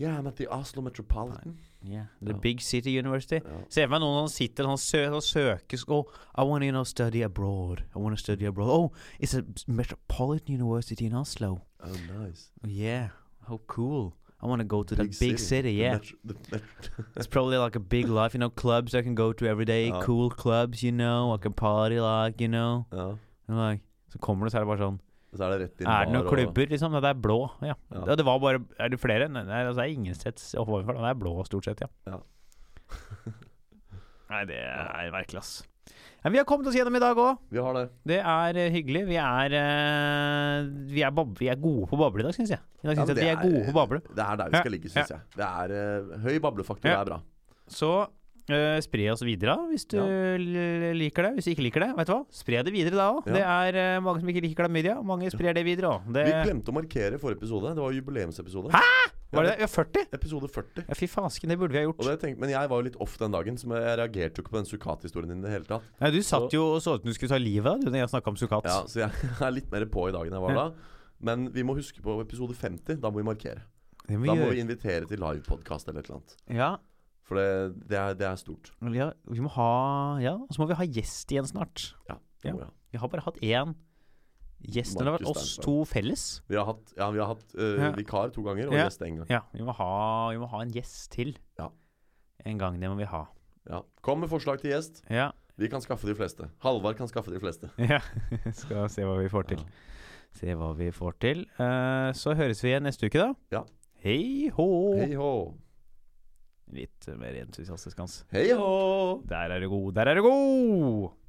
Yeah, I'm at the Oslo Metropolitan.
The
Ja.
Big City University.
Ja.
Se for meg noen som sitter og sø og søker oh, I want to you know, study abroad. I want to study abroad. Oh, it's a metropolitan university in Oslo.
Oh, nice.
Yeah, how cool. I want to go to
Big
the big
city.
city,
The
yeah.
metro- the metro-
It's probably like a big life, you know, clubs I can go to every day.
Ja.
Cool clubs, you know. I can party like, you know.
ja.
And like, så kommer det, så er det bare sånn
Så er det rett inn
Er det
bar
noen klubber, liksom? Ja, det er blå. Ja.
Ja.
ja. Det var bare Er det flere? Nei, nei, altså, det er ingen steds overfor. Det er blå, stort sett, ja.
Ja.
[LAUGHS] nei, det er merkelig, ass. Men vi har kommet oss gjennom i dag òg.
Og, vi har det.
Det er eh, hyggelig. Vi er, eh, vi, er bab vi er gode på å bable i dag, syns jeg. I dag
Ja,
syns
men
jeg at vi er gode på å bable.
Det er der vi skal ligge, syns jeg. Det er eh, Høy bablefaktor
Ja.
er bra.
Så eh, spre oss videre hvis du
Ja.
l- liker det. Hvis du ikke liker det, vet du hva? spre det videre da òg.
Ja.
Det er eh, mange som ikke liker klamydia. Mange sprer det videre òg. Det,
Vi glemte å markere forrige episode. Det var jubileumsepisode.
var det det? Ja, 40?
Episode 40.
Ja, fy fasken, det burde vi ha
Og
gjort.
det jeg tenkte, men jeg var jo litt off den dagen, så jeg reagerte jo ikke på den sukkat-historien din i det hele tatt.
Nei, du satt jo og så ut som du skulle ta livet av deg da jeg snakka om sukkat.
Ja, Så jeg [LAUGHS] er litt mer på i dag enn jeg var da. Men vi må huske på episode 50. Da må vi markere.
Det
Da
må vi
må
gjøre.
vi invitere til livepodkast eller et eller annet.
Ja,
For det, det, er, det er stort.
men ja, vi må ha Ja, og så må vi ha gjest igjen snart.
Det
Ja.
må vi ha.
Vi har bare hatt én gjest. Det har vært
Markus
oss
Steinstad.
to felles.
Vi har hatt, ja, vi har hatt eh,
Ja.
vikar to ganger og
Ja.
gjest én gang.
Ja, vi må ha, vi må ha en gjest til.
Ja.
En gang, det må vi ha.
Ja. Kom med forslag til gjest.
Ja. [LAUGHS]
Vi kan skaffe de fleste. Halvard kan skaffe de fleste.
Ja, skal se hva vi får til.
Ja.
Se hva vi får til. Eh, så høres vi igjen neste uke, da.
Ja.
Hei hå!
Hei hå.
Litt eh, mer entusiastisk, hans.
Hei hå.
Der er du god, der er du god!